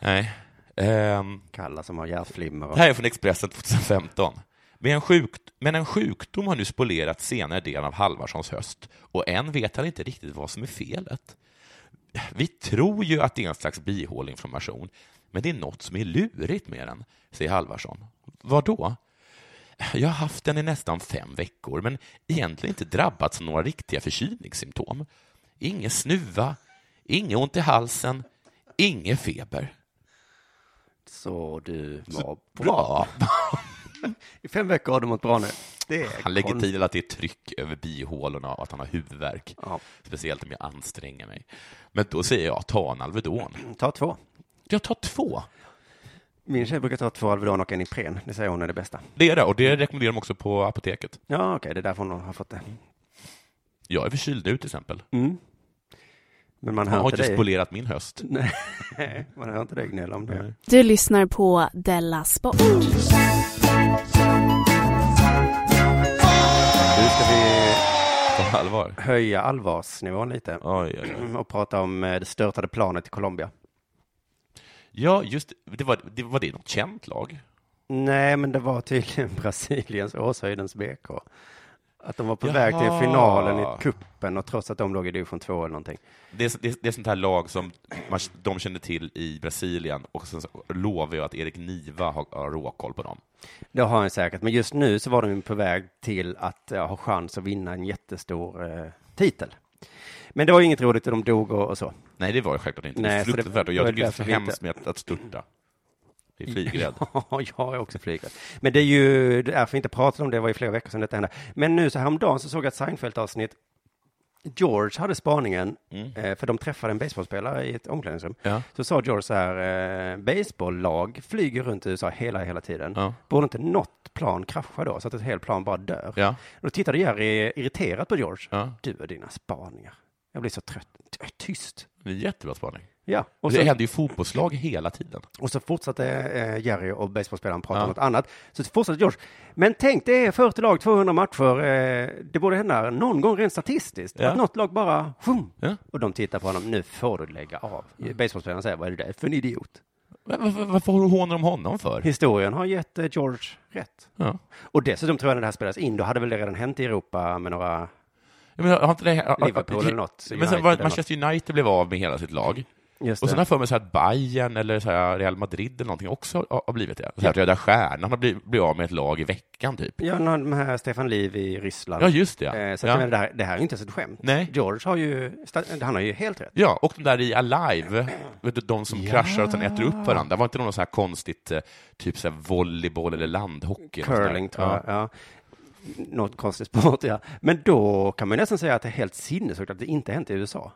C: Nej. Ehm,
D: kalla som har hjärtflimmer. Och...
C: det här är från Expressen 2015. Men en, sjukt, men en sjukdom har nu spolerat senare delen av Halvarssons höst och än vet han inte riktigt vad som är felet. Vi tror ju att det är en slags bihåleinflammation, men det är något som är lurigt med den, säger Halvarsson. Vad då? Jag har haft den i nästan fem veckor, men egentligen inte drabbats av några riktiga förkylningssymptom. Ingen snuva, inget ont i halsen, ingen feber.
D: Så du var
C: Så
D: bra. I fem veckor har du mått bra nu. Det är
C: Han lägger
D: kon-
C: till att det är tryck över bihålorna och att han har huvudvärk.
D: Ja.
C: Speciellt om jag anstränger mig. Men då säger jag, ta en Alvedon.
D: Ta två.
C: Jag tar två.
D: Min tjej brukar ta två Alvedon och en Ipren. Det säger hon är det bästa.
C: Det är det, och det rekommenderar de också på apoteket.
D: Ja, okej, det är därför hon har fått det. Mm.
C: Jag är förkyld nu till exempel.
D: Men man
C: Jag
D: hör,
C: har
D: inte *laughs*
C: inte
D: dig.
C: spolerat min höst.
D: man hör inte dig gnälla om det.
E: Du lyssnar på Della Sport.
D: Nu ska vi
C: På allvar.
D: höja allvarsnivån lite
C: Oj, oj, oj.
D: och prata om eh, det störtade planet i Colombia.
C: Ja, just det. Var det, var det något känt lag?
D: Nej, men det var tydligen *laughs* Brasiliens Åshöjdens BK. Att de var på
C: Jaha.
D: väg till finalen i kuppen och trots att de låg i division 2 eller någonting.
C: Det är, det, är, det är sånt här lag som man, de känner till i Brasilien och sen så lovar jag att Erik Niva har, har råkoll på dem.
D: Det har han säkert, men just nu så var de på väg till att eh, ha chans att vinna en jättestor eh, titel. Men det var ju inget roligt, och de dog och, och så.
C: Nej, det var det självklart inte. det
D: Nej,
C: är
D: så det-
C: fruktansvärt. Och
D: det var
C: jag tycker det är
D: därför
C: så
D: vi inte-
C: hemskt med att, att störta. Det
D: *laughs*
C: är flygrädd.
D: Ja, jag är också flygrädd. Men det är ju därför vi inte pratade om det, det var ju flera veckor sedan detta hände. Men nu så häromdagen så såg jag ett Seinfeld-avsnitt. George hade spaningen,
C: Mm.
D: eh, för de träffade en baseballspelare i ett omklädningsrum.
C: Ja.
D: Så sa George så här, eh, baseballlag flyger runt i USA hela, hela tiden.
C: Ja.
D: Borde inte något plan krascha då, så att ett helt plan bara dör?
C: Ja.
D: Då tittade Jerry irriterat på George.
C: Ja.
D: Du och dina spaningar. Jag blir så trött. Tyst.
C: Det är en jättebra spaning.
D: Ja, och
C: Och
D: så
C: det händer ju fotbollslag hela tiden.
D: Och så fortsatte eh, Jerry och baseballspelaren prata
C: Ja.
D: om något annat. Så fortsatte George. Men tänk, det är 40 lag, 200 matcher. Eh, det borde hända någon gång rent statistiskt.
C: Ja.
D: Att något lag bara... Shum,
C: Ja.
D: Och de tittar på honom. Nu får du lägga av. Baseballspelaren säger, vad är det där för en idiot?
C: Men Varför, varför hånar de honom för?
D: Historien har gett eh, George rätt.
C: Ja.
D: Och dessutom tror jag när det här spelas in, då hade väl det redan hänt i Europa med några...
C: Jag menar, har inte det, har,
D: Liverpool eller något,
C: Men
D: United
C: sen var
D: eller
C: det Manchester United blev av med hela sitt lag.
D: Just
C: Och
D: det.
C: sen har jag för mig så här att Bayern eller så här Real Madrid eller någonting också har, har blivit det. Så här, Röda Stjärnan har blivit, blivit av med ett lag i veckan, typ.
D: Ja, någon de här Stefan Liv i Ryssland.
C: Ja, just det.
D: Eh, Så att jag menar,
C: ja.
D: det, här, det här är ju inte ens ett skämt.
C: Nej.
D: George har ju, sta- han har ju helt rätt.
C: ja, och de där i Alive, vet du, de som kraschar och sen äter upp varandra. Var inte det något så här konstigt, eh, typ så här volleyboll eller landhockey? eller något sånt
D: Curling
C: där?
D: tror
C: Ja.
D: jag. Ja. Något konstigt sport, ja. Men då kan man ju nästan säga att det är helt sinnessjukt att det inte hänt i USA.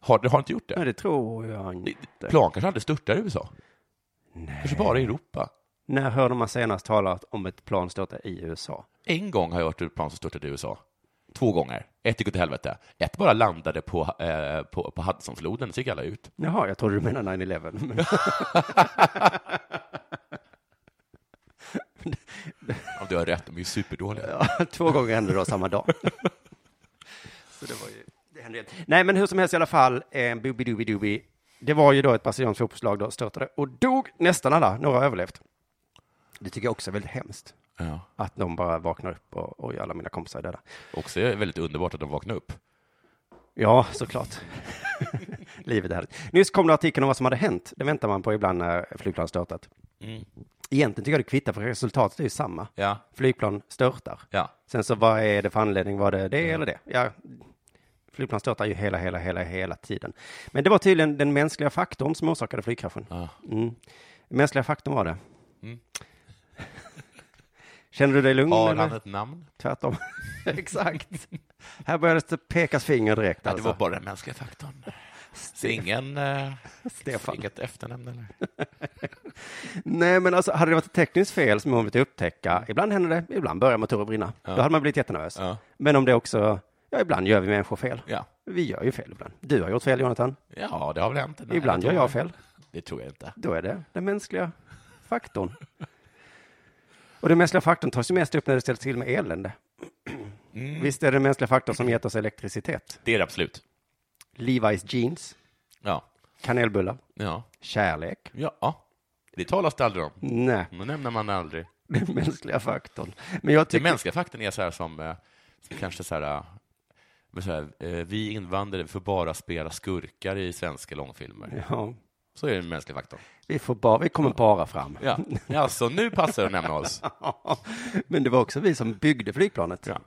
C: Har, det har inte gjort det?
D: Nej, det tror jag inte.
C: Plan kanske aldrig störtar i USA? Kanske bara i Europa?
D: När hörde man senast talat om ett plan störta i USA?
C: En gång har jag varit ur plan som störtade i USA. Två gånger. Ett gick åt helvete. Ett bara landade på, eh, på, på Hudsonfloden, så gick alla ut.
D: Jaha, jag trodde du menade 9-11. Men
C: Om du har rätt, de är ju superdåliga.
D: Två gånger hände det då samma dag. *laughs* Så det var ju, det hände ju. Nej, men hur som helst i alla fall, eh, boobidoobidoobie. Det var ju då ett brasilianskt fotbollslag då störtade och dog nästan alla, några har överlevt. Det tycker jag också är väldigt hemskt.
C: Ja.
D: Att de bara vaknar upp och, och alla mina kompisar är döda.
C: Också är det väldigt underbart att de vaknade upp.
D: Ja, såklart. *laughs* Livet är härligt. Nyss kom det artikeln om vad som hade hänt. Det väntar man på ibland när flygplan störtat. Egentligen tycker jag det kvittar, för resultatet är ju samma.
C: Ja.
D: Flygplan störtar.
C: Ja.
D: Sen så vad är det för anledning? Var det det
C: Mm.
D: eller det? Ja, flygplan störtar ju hela, hela, hela, hela tiden. Men det var tydligen den mänskliga faktorn som orsakade flygkraschen.
C: Ja. Mm.
D: Mm. Den mänskliga faktorn var det. *laughs* Känner du dig lugn?
C: Har
D: eller?
C: han ett namn? *laughs*
D: Tvärtom. Exakt. Här började det pekas finger direkt.
C: Ja, det
D: Alltså.
C: var bara den mänskliga faktorn. Så ingen... eh,
D: Stefan.
C: Inget efternamn eller?
D: Nej, men alltså, hade det varit ett tekniskt fel som hon vill upptäcka, ibland händer det, ibland börjar motorer brinna. Då hade man blivit jättenervös.
C: Ja.
D: Men om det också, ja, ibland gör vi människor fel.
C: Ja.
D: Vi gör ju fel ibland. Du har gjort fel, Jonathan.
C: ja, det har väl hänt. Nej,
D: ibland
C: det
D: gör
C: tror
D: jag fel.
C: Det tror jag inte.
D: Då är det den mänskliga faktorn. Och den mänskliga faktorn tas ju mest upp när det ställs till med elände. Visst är det den mänskliga faktorn som gett oss elektricitet?
C: Det är det absolut.
D: Levi's jeans,
C: Ja.
D: kanelbullar,
C: Ja.
D: kärlek.
C: Ja. Det talas det aldrig om.
D: Nej,
C: Det nämner man aldrig.
D: den mänskliga faktorn. Men jag
C: Den
D: tycker...
C: mänskliga faktorn är så här som, eh, som kanske så här, eh, men så här eh, vi invandrare vi får bara spela skurkar i svenska långfilmer.
D: Ja,
C: Så är den mänskliga faktorn.
D: vi, får bara, vi kommer bara fram. *laughs*
C: Ja, alltså nu passar det att nämna oss.
D: Men det var också vi som byggde flygplanet.
C: Ja.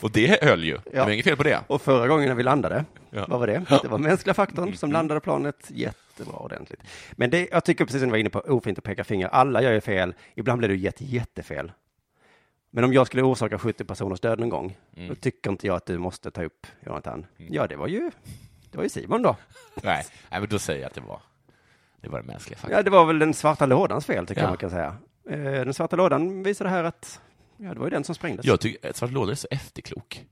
C: Och det höll ju. Det var
D: Ja.
C: inget fel på det.
D: Och förra gången när vi landade,
C: Ja. Mm.
D: vad var det? Det var mänskliga faktorn som landade planet jättebra ordentligt. Men det, jag tycker precis som du var inne på, ofint att peka finger. Alla gör ju fel. Ibland blir det ju jätte, jättefel. Men om jag skulle orsaka 70 personers död en gång,
C: Mm.
D: då tycker inte jag att du måste ta upp Jonathan. Ja, det var ju, det var ju Simon då.
C: *laughs* Nej, nej men då säger jag att det var, det var den mänskliga faktorn.
D: Ja, det var väl den svarta lådans fel, tycker
C: Ja.
D: jag man kan säga. Eh, Den svarta lådan visade här att, ja, det var ju den som sprängdes.
C: Jag tycker att Svart låda är så efterklok.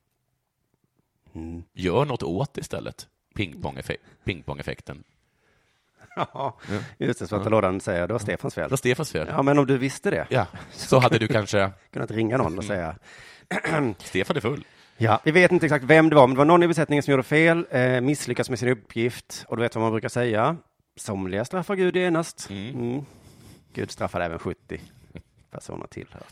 D: Mm.
C: Gör något åt det istället. Pingpong-effe- Pingpong-effekten.
D: Ja, *laughs* just det, svarta lådan säger, det var Stefans fel.
C: Det var Stefans fel.
D: Ja, men om du visste det,
C: Ja, Mm. så hade du kanske...
D: kunnat ringa någon och säga,
C: Stefan är full.
D: Ja, vi vet inte exakt vem det var, men det var någon i besättningen som gjorde fel, eh, misslyckas med sin uppgift och du vet vad man brukar säga. Somliga straffar Gud genast. Mm. Gud straffade även 70 personer till. här.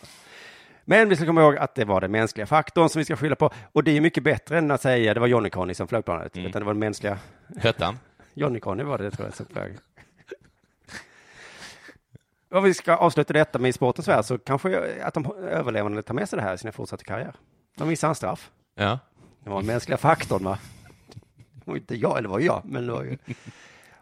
D: Men vi ska komma ihåg att det var den mänskliga faktorn som vi ska skylla på. Och det är ju mycket bättre än att säga det var Johnny Conny som flög planet. Utan det var den mänskliga
C: Hette han?
D: Johnny Conny var det tror jag som *laughs* flög. Om vi ska avsluta detta med i sportens värld så kanske att de överlevande tar med sig det här i sina fortsatta karriär. De missar en straff.
C: Ja.
D: Det var den mänskliga faktorn, va? Det var inte jag, eller var jag, men det var ju...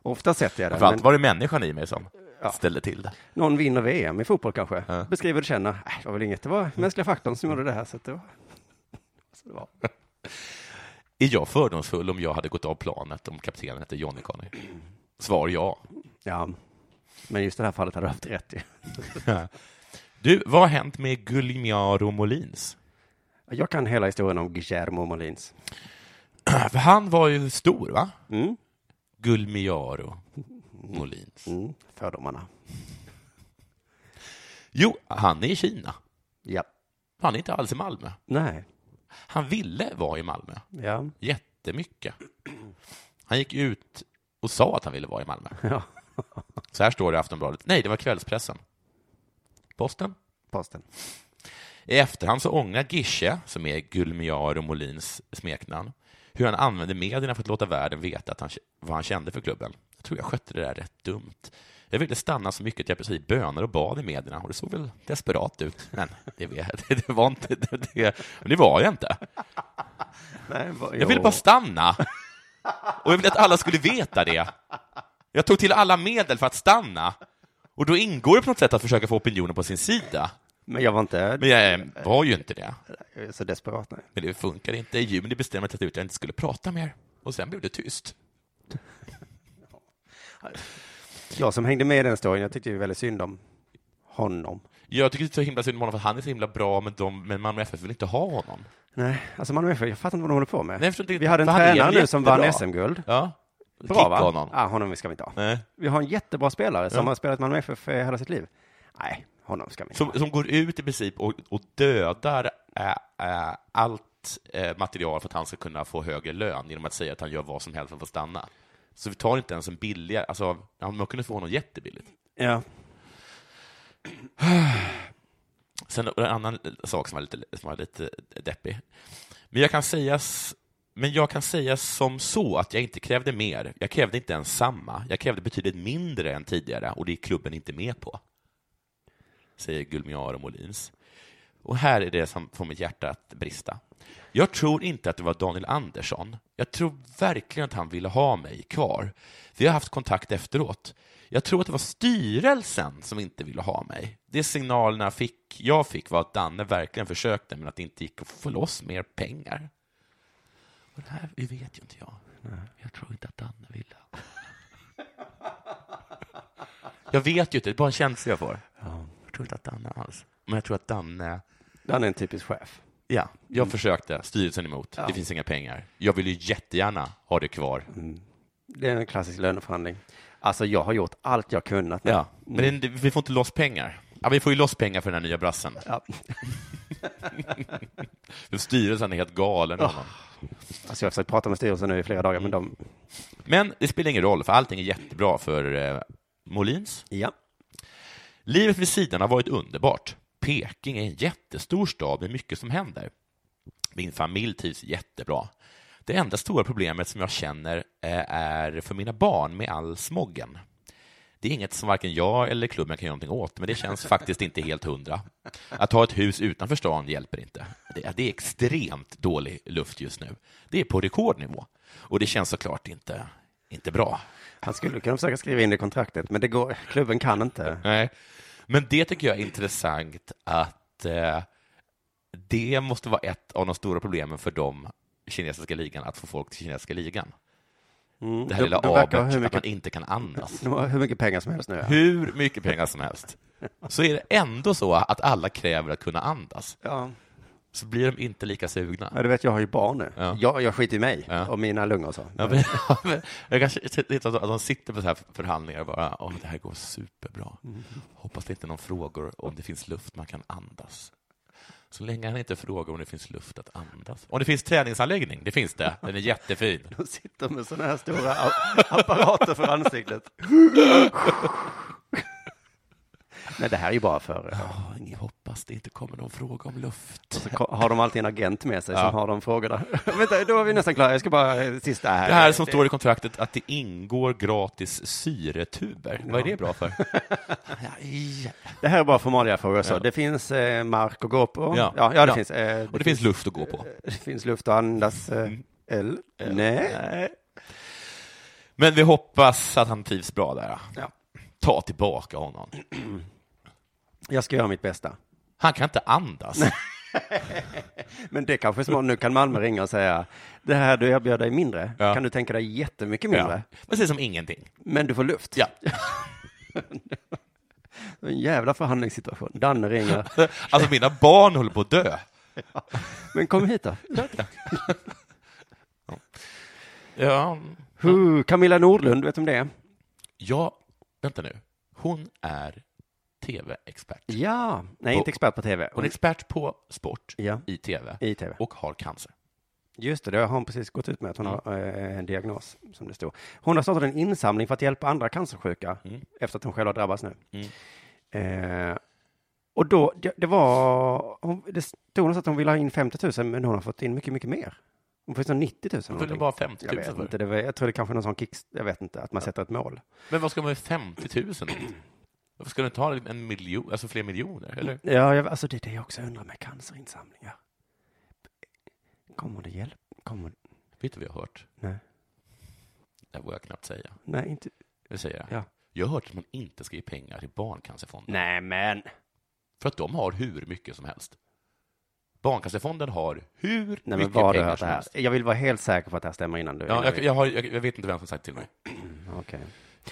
D: Ofta sätter jag det.
C: Framförallt
D: men
C: var det människan i mig som ställde till det.
D: Någon vinner VM i fotboll kanske.
C: Ja.
D: Beskriver det känner. Äh, det var väl inget, det var mänskliga faktorn som gjorde det här. Så att det var... Så det var.
C: Är jag fördomsfull om jag hade gått av planet om kaptenen hette Johnny Conny?
D: *laughs*
C: Svar ja.
D: Ja. Men just i det här fallet hade du haft rätt ju.
C: Du, vad har hänt med Guglielmo Molins? *clears throat*
D: Jag kan hela historien om Guillermo Molins.
C: För han var ju stor, va?
D: Mm.
C: Guglielmo Molins.
D: Mm. Fördomarna.
C: Jo, han är i Kina.
D: Ja.
C: Han är inte alls i Malmö.
D: Nej.
C: Han ville vara i Malmö
D: Ja.
C: jättemycket. Han gick ut och sa att han ville vara i Malmö.
D: Ja.
C: Så här står det i Aftonbladet. Nej, det var kvällspressen. Posten.
D: Posten.
C: I efterhand så ångrar Gische, som är Gulmiaro Molins smeknamn, hur han använde medierna för att låta världen veta att han, vad han kände för klubben. Jag tror jag skötte det där rätt dumt. Jag ville stanna så mycket att jag precis bönade och bad i medierna och det såg väl desperat ut. Men det, vet- det var inte *laughs* det, det, men det var jag inte.
D: Nej, va,
C: Jag ville bara stanna. Och jag ville att alla skulle veta det. Jag tog till alla medel för att stanna. Och då ingår det på något sätt att försöka få opinionen på sin sida.
D: Men jag var inte
C: Men jag eh, var ju inte det.
D: så desperat. Nej.
C: Men det funkade inte. I juni bestämde jag mig till slut att jag inte skulle prata mer. Och sen blev det tyst.
D: Jag som hängde med i den historien, jag tyckte ju väldigt synd om honom.
C: Jag tycker det är så himla synd om honom för att han är så himla bra, men, de, men Malmö FF vill inte ha honom.
D: Nej, alltså Malmö FF, jag fattar inte vad de håller på med.
C: Nej, jag förstår inte
D: vi hade en
C: riktigt, för han är
D: tränare
C: ju
D: nu som vann
C: jättebra.
D: SM-guld.
C: Ja.
D: Bra va?
C: Kicka honom.
D: Ja, honom ska vi inte ha.
C: Nej.
D: Vi har en jättebra spelare som har spelat Malmö FF eh, hela sitt liv. Nej, honom ska vi inte
C: Som,
D: ha.
C: som går ut i princip och, och dödar äh, äh, allt äh, material för att han ska kunna få högre lön genom att säga att han gör vad som helst för att få stanna. Så vi tar inte ens en billigare, alltså man kunde få honom jättebilligt.
D: Ja.
C: Sen en annan sak som var lite, som var lite deppig. Men jag, kan sägas, men jag kan säga som så att jag inte krävde mer. Jag krävde inte ens samma. Jag krävde betydligt mindre än tidigare och det är klubben inte med på. Säger Gulmiaro Molins. Och här är det som får mitt hjärta att brista. Jag tror inte att det var Daniel Andersson. Jag tror verkligen att han ville ha mig kvar. Vi har haft kontakt efteråt. Jag tror att det var styrelsen som inte ville ha mig. Det signalerna jag fick, jag fick var att Danne verkligen försökte, men att det inte gick att få loss mer pengar. Och det här det vet ju inte jag. Jag tror inte att Danne ville. jag vet ju inte, det är bara en känsla jag får. Jag tror inte att Danne alls. Men jag tror att Danne
D: Han är en typisk chef.
C: Ja, jag försökte. Styrelsen emot. Det finns inga pengar. Jag vill ju jättegärna ha det kvar.
D: Det är en klassisk löneförhandling. Alltså, jag har gjort allt jag kunnat. nu.
C: Ja. Men det, vi får inte loss pengar. Ja, vi får ju loss pengar för den här nya brassen.
D: Ja. alltså,
C: För Styrelsen är helt galen. i honom.
D: Alltså, jag har försökt prata med styrelsen nu i flera dagar, men de...
C: Men det spelar ingen roll, för allting är jättebra för eh, Molins.
D: Ja.
C: Livet vid sidan har varit underbart. Peking är en jättestor stad med mycket som händer. Min familj trivs jättebra. Det enda stora problemet som jag känner eh, är för mina barn med all smoggen. Det är inget som varken jag eller klubben kan göra någonting åt, men det känns faktiskt inte helt hundra. Att ha ett hus utanför stan hjälper inte. Det, det är extremt dålig luft just nu. Det är på rekordnivå. Och det känns såklart inte, inte bra.
D: Han skulle kunna försöka skriva in det i kontraktet, men det går, klubben kan inte.
C: Nej. Men det tycker jag är intressant att eh, det måste vara ett av de stora problemen för dem i kinesiska ligan, att få folk till kinesiska ligan. det här
D: de-
C: lilla
D: de verkar ha
C: abet,
D: hur
C: att
D: mycket-
C: man inte kan andas.
D: De har hur mycket pengar som helst nu. Ja.
C: Hur mycket pengar som helst, så är det ändå så att alla kräver att kunna andas.
D: Ja.
C: Så blir de inte lika sugna.
D: ja, du vet, jag har ju barn nu.
C: Ja.
D: Jag, jag skiter i mig
C: Ja.
D: och mina lungor och så.
C: Ja, men, *laughs* jag kanske lite att att de sitter på så här förhandlingar och bara, åh, det här går superbra. Hoppas det inte är någon frågor om det finns luft man kan andas. Så länge han inte frågar om det finns luft att andas. Om det finns träningsanläggning, det finns det. Den är jättefin.
D: *laughs* De sitter med sådana här stora a- apparater för ansiktet. Nej, det här är ju bara för...
C: Ja, ni hoppas det inte kommer någon fråga om luft.
D: Så ko- har de alltid en agent med sig som har de frågorna. *laughs* Vänta, då är vi nästan klara. Jag ska bara eh, sista här.
C: Det här som står i kontraktet att det ingår gratis syretuber. Vad är det bra *laughs* för? Aj.
D: Det här är bara formalia frågor. Så.
C: Ja.
D: Det finns eh, mark att gå på.
C: Ja.
D: ja, det
C: Ja.
D: finns. Eh, det,
C: Och
D: finns
C: det finns luft Mm. att gå på.
D: det finns luft att andas. Eh, L. Nej.
C: Men vi hoppas att han trivs bra där.
D: Ja.
C: Ta tillbaka honom.
D: Jag ska göra mitt bästa.
C: Han kan inte andas.
D: Men det kanske är smart. Nu kan Malmö ringa och säga, det här du erbjöd dig mindre,
C: Ja.
D: kan du tänka dig jättemycket
C: Ja.
D: mindre,
C: Precis som ingenting.
D: men du får luft. *laughs*
C: Ja.
D: En jävla förhandlingssituation. Danne ringer.
C: Alltså mina barn håller på att dö.
D: Men kom hit då.
C: Ja,
D: Huh, Camilla Nordlund, vet du om det är?
C: ja vänta nu. Hon är tv-expert.
D: Ja, nej
C: På-
D: inte expert på tv.
C: Hon är expert på sport
D: Ja.
C: i tv
D: I TV.
C: och har cancer.
D: Just det, det har hon precis gått ut med att hon har eh, en diagnos som det står. Hon har startat en insamling för att hjälpa andra cancersjuka efter att hon själv har drabbats nu. Eh, och då, det, det var, hon, det stod någonstans att hon ville ha in 50 000 men hon har fått in mycket, mycket mer. Hon får in 90 000.
C: Hon ville
D: någonting.
C: bara 50
D: jag
C: 000
D: vet
C: för.
D: inte, det var, jag tror det kanske är någon sån kick, jag vet inte, att man sätter ett mål.
C: Men vad ska man med 50 000 till? Varför ska du inte ha en miljon, alltså fler miljoner? Eller?
D: Ja, jag, alltså det är det jag också undrar med cancerinsamlingar. Kommer det hjälpa? Kommer
C: Vet du vad jag har hört?
D: Nej.
C: Det här vågar jag knappt säga.
D: Nej, inte.
C: Jag, säger.
D: Ja.
C: jag har hört att man inte ska ge pengar till Barncancerfonden.
D: Nej, men.
C: För att de har hur mycket som helst. Barncancerfonden har hur
D: Nej, men
C: mycket
D: vad har du
C: pengar
D: hört det
C: som
D: här?
C: helst.
D: Jag vill vara helt säker på att det här stämmer innan du...
C: Ja,
D: innan
C: jag,
D: vi-
C: jag, har, jag, jag vet inte vem som sagt till mig.
D: Okej.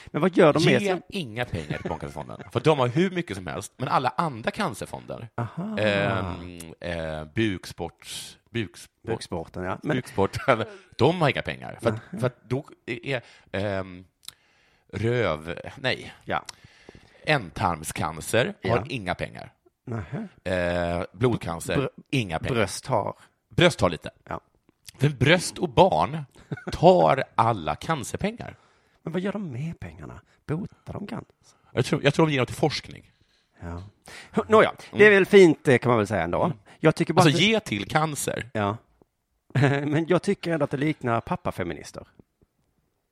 D: Men vad gör de med
C: Ge
D: sig?
C: inga pengar till Barncancerfonden. För de har hur mycket som helst. Men alla andra cancerfonder,
D: Ah.
C: ehm, eh, buksports, buksport,
D: Buksporten, ja. Men, Ah.
C: buksport, de har inga pengar. För, att, för att då är ehm, röv, nej,
D: ja.
C: ändtarmscancer har
D: Ja.
C: inga pengar.
D: Nähä.
C: Eh, blodcancer,
D: Br-
C: inga pengar.
D: Bröst har.
C: Bröst har lite.
D: Ja.
C: För bröst och barn tar alla cancerpengar.
D: Men vad gör de med pengarna? Botar de cancer?
C: Jag tror, jag tror de ger dem till forskning.
D: Ja. Nåja, det är väl fint eh, kan man väl säga ändå. Jag tycker bara
C: Mm. Alltså
D: att...
C: ge till cancer.
D: Ja. *laughs* Men jag tycker ändå att det liknar pappafeminister.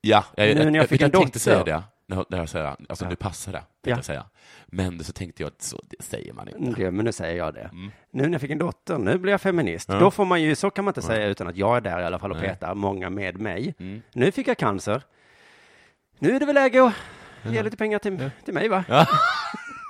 C: Ja, jag,
D: Nu när
C: jag,
D: jag
C: jag,
D: fick
C: jag
D: en
C: tänkte säga
D: dotter.
C: det. När, när jag säger, alltså nu passar det, tänkte
D: Ja. Mm.
C: jag säga. Men så tänkte jag att så det säger man inte.
D: Det, men nu säger jag det.
C: Mm.
D: Nu när jag fick en dotter, nu blir jag feminist. Då får man ju, så kan man inte säga utan att jag är där i alla fall
C: Mm.
D: och petar, många med mig. Nu fick jag cancer. Nu är det väl läge att Ge lite pengar till, till mig, va?
C: Ja.
D: *laughs*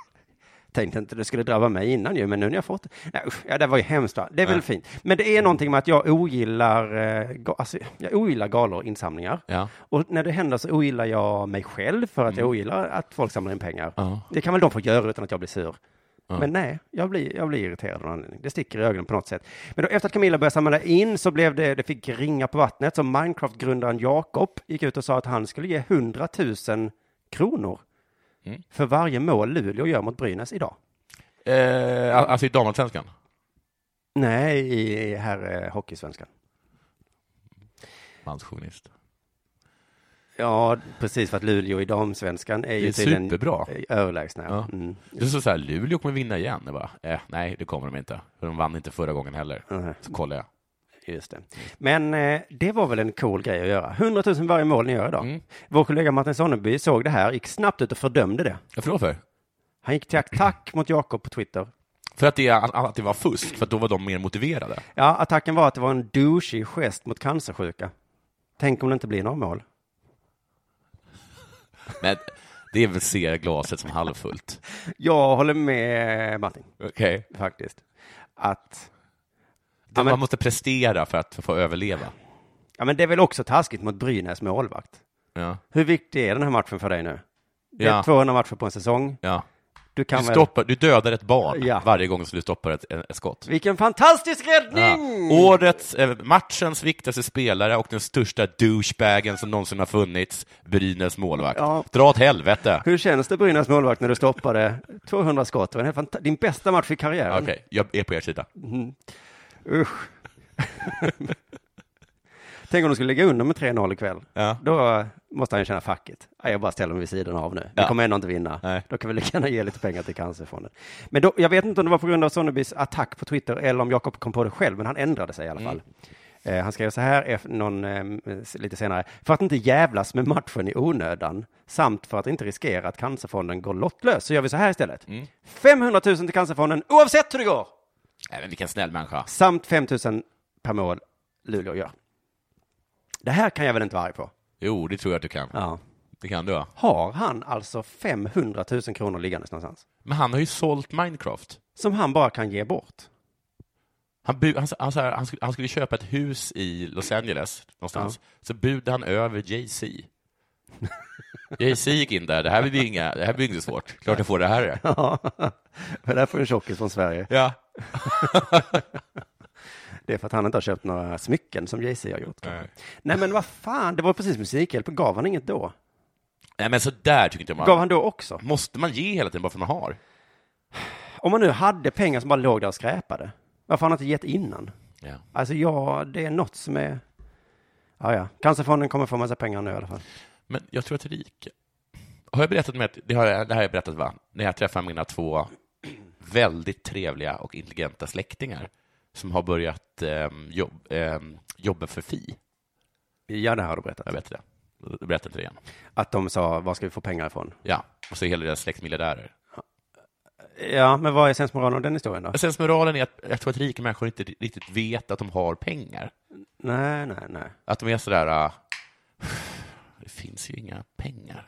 D: Tänkte inte det skulle drabba mig innan ju, men nu när jag fått det. Nej, usch, ja, det var ju hemskt. Va? Det är väl fint. Men det är någonting med att jag ogillar, eh, ga- alltså, jag ogillar galor och insamlingar.
C: Ja.
D: Och när det händer så ogillar jag mig själv för
C: Mm.
D: att jag ogillar att folk samlar in pengar.
C: Ja.
D: Det kan väl de få göra utan att jag blir sur.
C: Ja.
D: Men nej, jag blir, jag blir irriterad av någon anledning. Det sticker i ögonen på något sätt. Men då efter att Camilla började samla in så blev det, det fick ringa på vattnet. Så Minecraft-grundaren Jakob gick ut och sa att han skulle ge 100 000 kronor för varje mål Luleå gör mot Brynäs idag.
C: Eh, al- alltså i damallsvenskan?
D: Nej, i- i här eh, hockeysvenskan.
C: Mansjournalist.
D: Ja, precis för att Luleå i damsvenskan är ju
C: är
D: tydligen eh,
C: superbra.
D: överlägsna. Ja.
C: Ja.
D: Mm.
C: Det är så så här, Luleå kommer vinna igen. Jag bara, eh, nej, det kommer de inte. För de vann inte förra gången heller.
D: Nej.
C: Så kollar jag.
D: Just det. Men eh, det var väl en cool grej att göra. 100 000 varje mål ni gör idag.
C: Mm.
D: Vår kollega Martin Sonneby såg det här, gick snabbt ut och fördömde det.
C: Varför då för?
D: Han gick till
C: *laughs*
D: attack mot Jakob på Twitter.
C: För att det, är- att det var fusk, för att då var de mer motiverade.
D: Ja, attacken var att det var en douchig gest mot cancersjuka. Tänk om det inte blir några mål.
C: Men det är väl se glaset som halvfullt.
D: Jag håller med eh, Martin,
C: Okej.
D: faktiskt. Att,
C: Det-
D: men-
C: Man måste prestera för att få överleva.
D: ja men det är väl också taskigt mot Brynäs målvakt.
C: Ja.
D: Hur viktig är den här matchen för dig nu? Det är
C: Ja.
D: 200 matcher på en säsong.
C: ja.
D: Du
C: Du,
D: kan väl...
C: stoppar, du dödar ett barn
D: Ja.
C: varje gång som du stoppar ett, ett skott.
D: Vilken fantastisk
C: Ja.
D: räddning!
C: Årets, eh, matchens viktigaste spelare och den största douchebagen som någonsin har funnits, Brynäs målvakt.
D: Ja.
C: Dra åt helvete!
D: Hur känns det Brynäs målvakt när du stoppade 200 skott? Det var en fanta- din bästa match i karriären.
C: Okej, jag är på er sida.
D: Usch. *laughs* Tänk om de skulle lägga under med 3-0 ikväll.
C: Ja.
D: Då måste han ju känna facket. Nej, Jag bara ställer mig vid sidan av nu. Vi
C: Ja.
D: kommer ändå inte vinna.
C: Nej.
D: Då kan vi lika gärna ge lite pengar till Cancerfonden. Men då, jag vet inte om det var på grund av Sonnebys attack på Twitter eller om Jakob kom på det själv, men han ändrade sig i alla
C: Mm.
D: fall. Eh, han skrev så här ef- någon, eh, s- lite senare. För att inte jävlas med matchen i onödan samt för att inte riskera att Cancerfonden går lottlös så gör vi så här istället.
C: Mm.
D: 500 000 till Cancerfonden oavsett hur det går!
C: Nej, men vilken snäll människa.
D: samt 5 000 per mål Luleå gör. Det här kan jag väl inte vara arg på?
C: Jo, det tror jag att du kan.
D: Ja.
C: Det kan du, ja.
D: Har han alltså 500 000 kronor liggandes någonstans?
C: Men han har ju sålt Minecraft.
D: Som han bara kan ge bort?
C: Han, bu- han, sa- han, sa- han, skulle, han skulle köpa ett hus i Los Angeles någonstans, så budade han över *laughs* Jay-Z. Jay-Z gick in där, det här blir inga, det här blir inget svårt. Klart jag får det här. Ja.
D: Ja, *laughs* det där får en tjockis från Sverige.
C: ja.
D: Det är för att han inte har köpt några smycken som Jay-Z har gjort. kanske.
C: Nej.
D: Nej, men vad fan, det var precis Musikhjälpen. Gav han inget då?
C: Nej, men så där tycker inte
D: Gav
C: man.
D: han då också?
C: Måste man ge hela tiden bara för att man har?
D: Om man nu hade pengar som bara låg där och skräpade, varför har han inte gett innan?
C: Ja.
D: Alltså, ja, det är något som är... Ja, ja. Cancerfonden kommer få massa pengar nu i alla fall.
C: Men jag tror att Rik... Har jag berättat med att, det, har jag, det här har jag berättat va? När jag träffar mina två väldigt trevliga och intelligenta släktingar som har börjat ehm, jobb, ehm, jobba för FI.
D: Ja, det har du berättat.
C: Jag vet det. Jag berättar inte det igen.
D: Att de sa, var ska vi få pengar ifrån?
C: Ja, och så är hela deras släkt miljardärer.
D: Ja, men vad är sensmoralen av den historien då?
C: Men Sen moralen är att jag tror att rika människor inte riktigt vet att de har pengar.
D: Nej, nej, nej.
C: Att de är sådär, äh, *sighs* det finns ju inga pengar.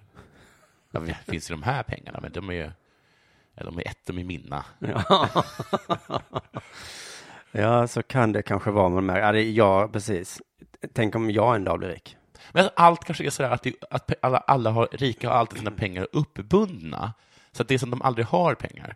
C: Ja, det finns ju de här pengarna, men de är ju, ja, de är ett, de är mina.
D: *laughs* Ja, så kan det kanske vara. Men med, ja, det, ja, precis. Tänk om jag en dag blir rik.
C: Men alltså, allt kanske är sådär att, det, att pe- alla, alla har, rika har alltid sina pengar uppbundna, så att det är som de aldrig har pengar.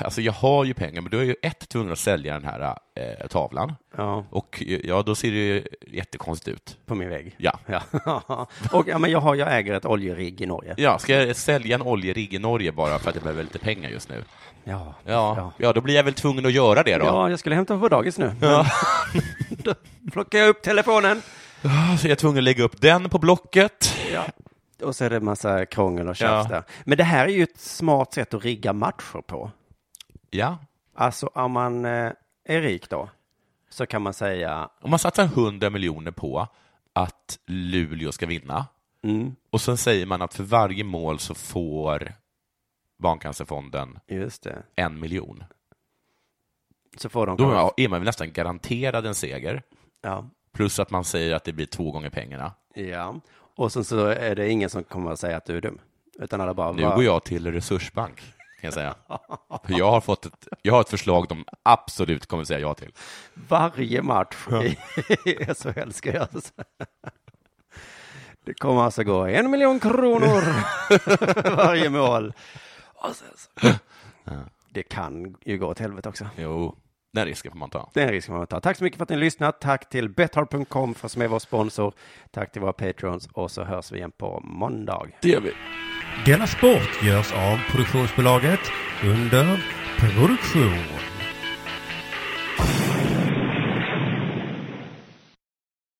C: Alltså, jag har ju pengar, men då är jag ju ett tvungen att sälja den här eh, tavlan.
D: Ja,
C: Och ja, då ser det ju jättekonstigt ut.
D: på min *laughs* vägg.
C: Ja.
D: Ja, och ja, men jag, har, jag äger ett oljerigg i Norge.
C: Ja, ska jag sälja en oljerigg i Norge bara för att jag behöver lite pengar just nu?
D: Ja,
C: Ja, ja då blir jag väl tvungen att göra det då.
D: Ja, jag skulle hämta på dagis nu. Ja. *laughs* då plockar jag upp telefonen.
C: Så jag är tvungen att lägga upp den på Blocket.
D: Ja. Och så är det massa krångel och tjafs
C: Ja.
D: där. Men det här är ju ett smart sätt att rigga matcher på.
C: Ja.
D: Alltså om man eh, är rik då, så kan man säga,
C: Om man satsar 100 miljoner på att Luleå ska vinna
D: mm,
C: och sen säger man att för varje mål så får Barncancerfonden
D: just det,
C: en miljon.
D: så får de...
C: Då är man- är man väl nästan garanterad en seger,
D: ja.
C: plus att man säger att det blir två gånger pengarna.
D: ja. Och sen så är det ingen som kommer att säga att du är dum. Utan alla bara,
C: Nu
D: va-
C: går jag till resursbank, kan jag säga. För jag har fått ett, jag har ett förslag de absolut kommer säga ja till.
D: varje match *laughs* i SHL ska göras. Det kommer alltså gå en miljon
C: *laughs*
D: kronor varje mål. Och sen så. Det kan ju gå åt helvete också.
C: Jo, den risken får man ta.
D: Den risken man ta. Tack så mycket för att ni har lyssnat. Tack till Bethard.com för som är vår sponsor. Tack till våra patrons och så hörs vi igen på måndag.
C: Det gör vi.
F: Denna sport görs av produktionsbolaget under produktion.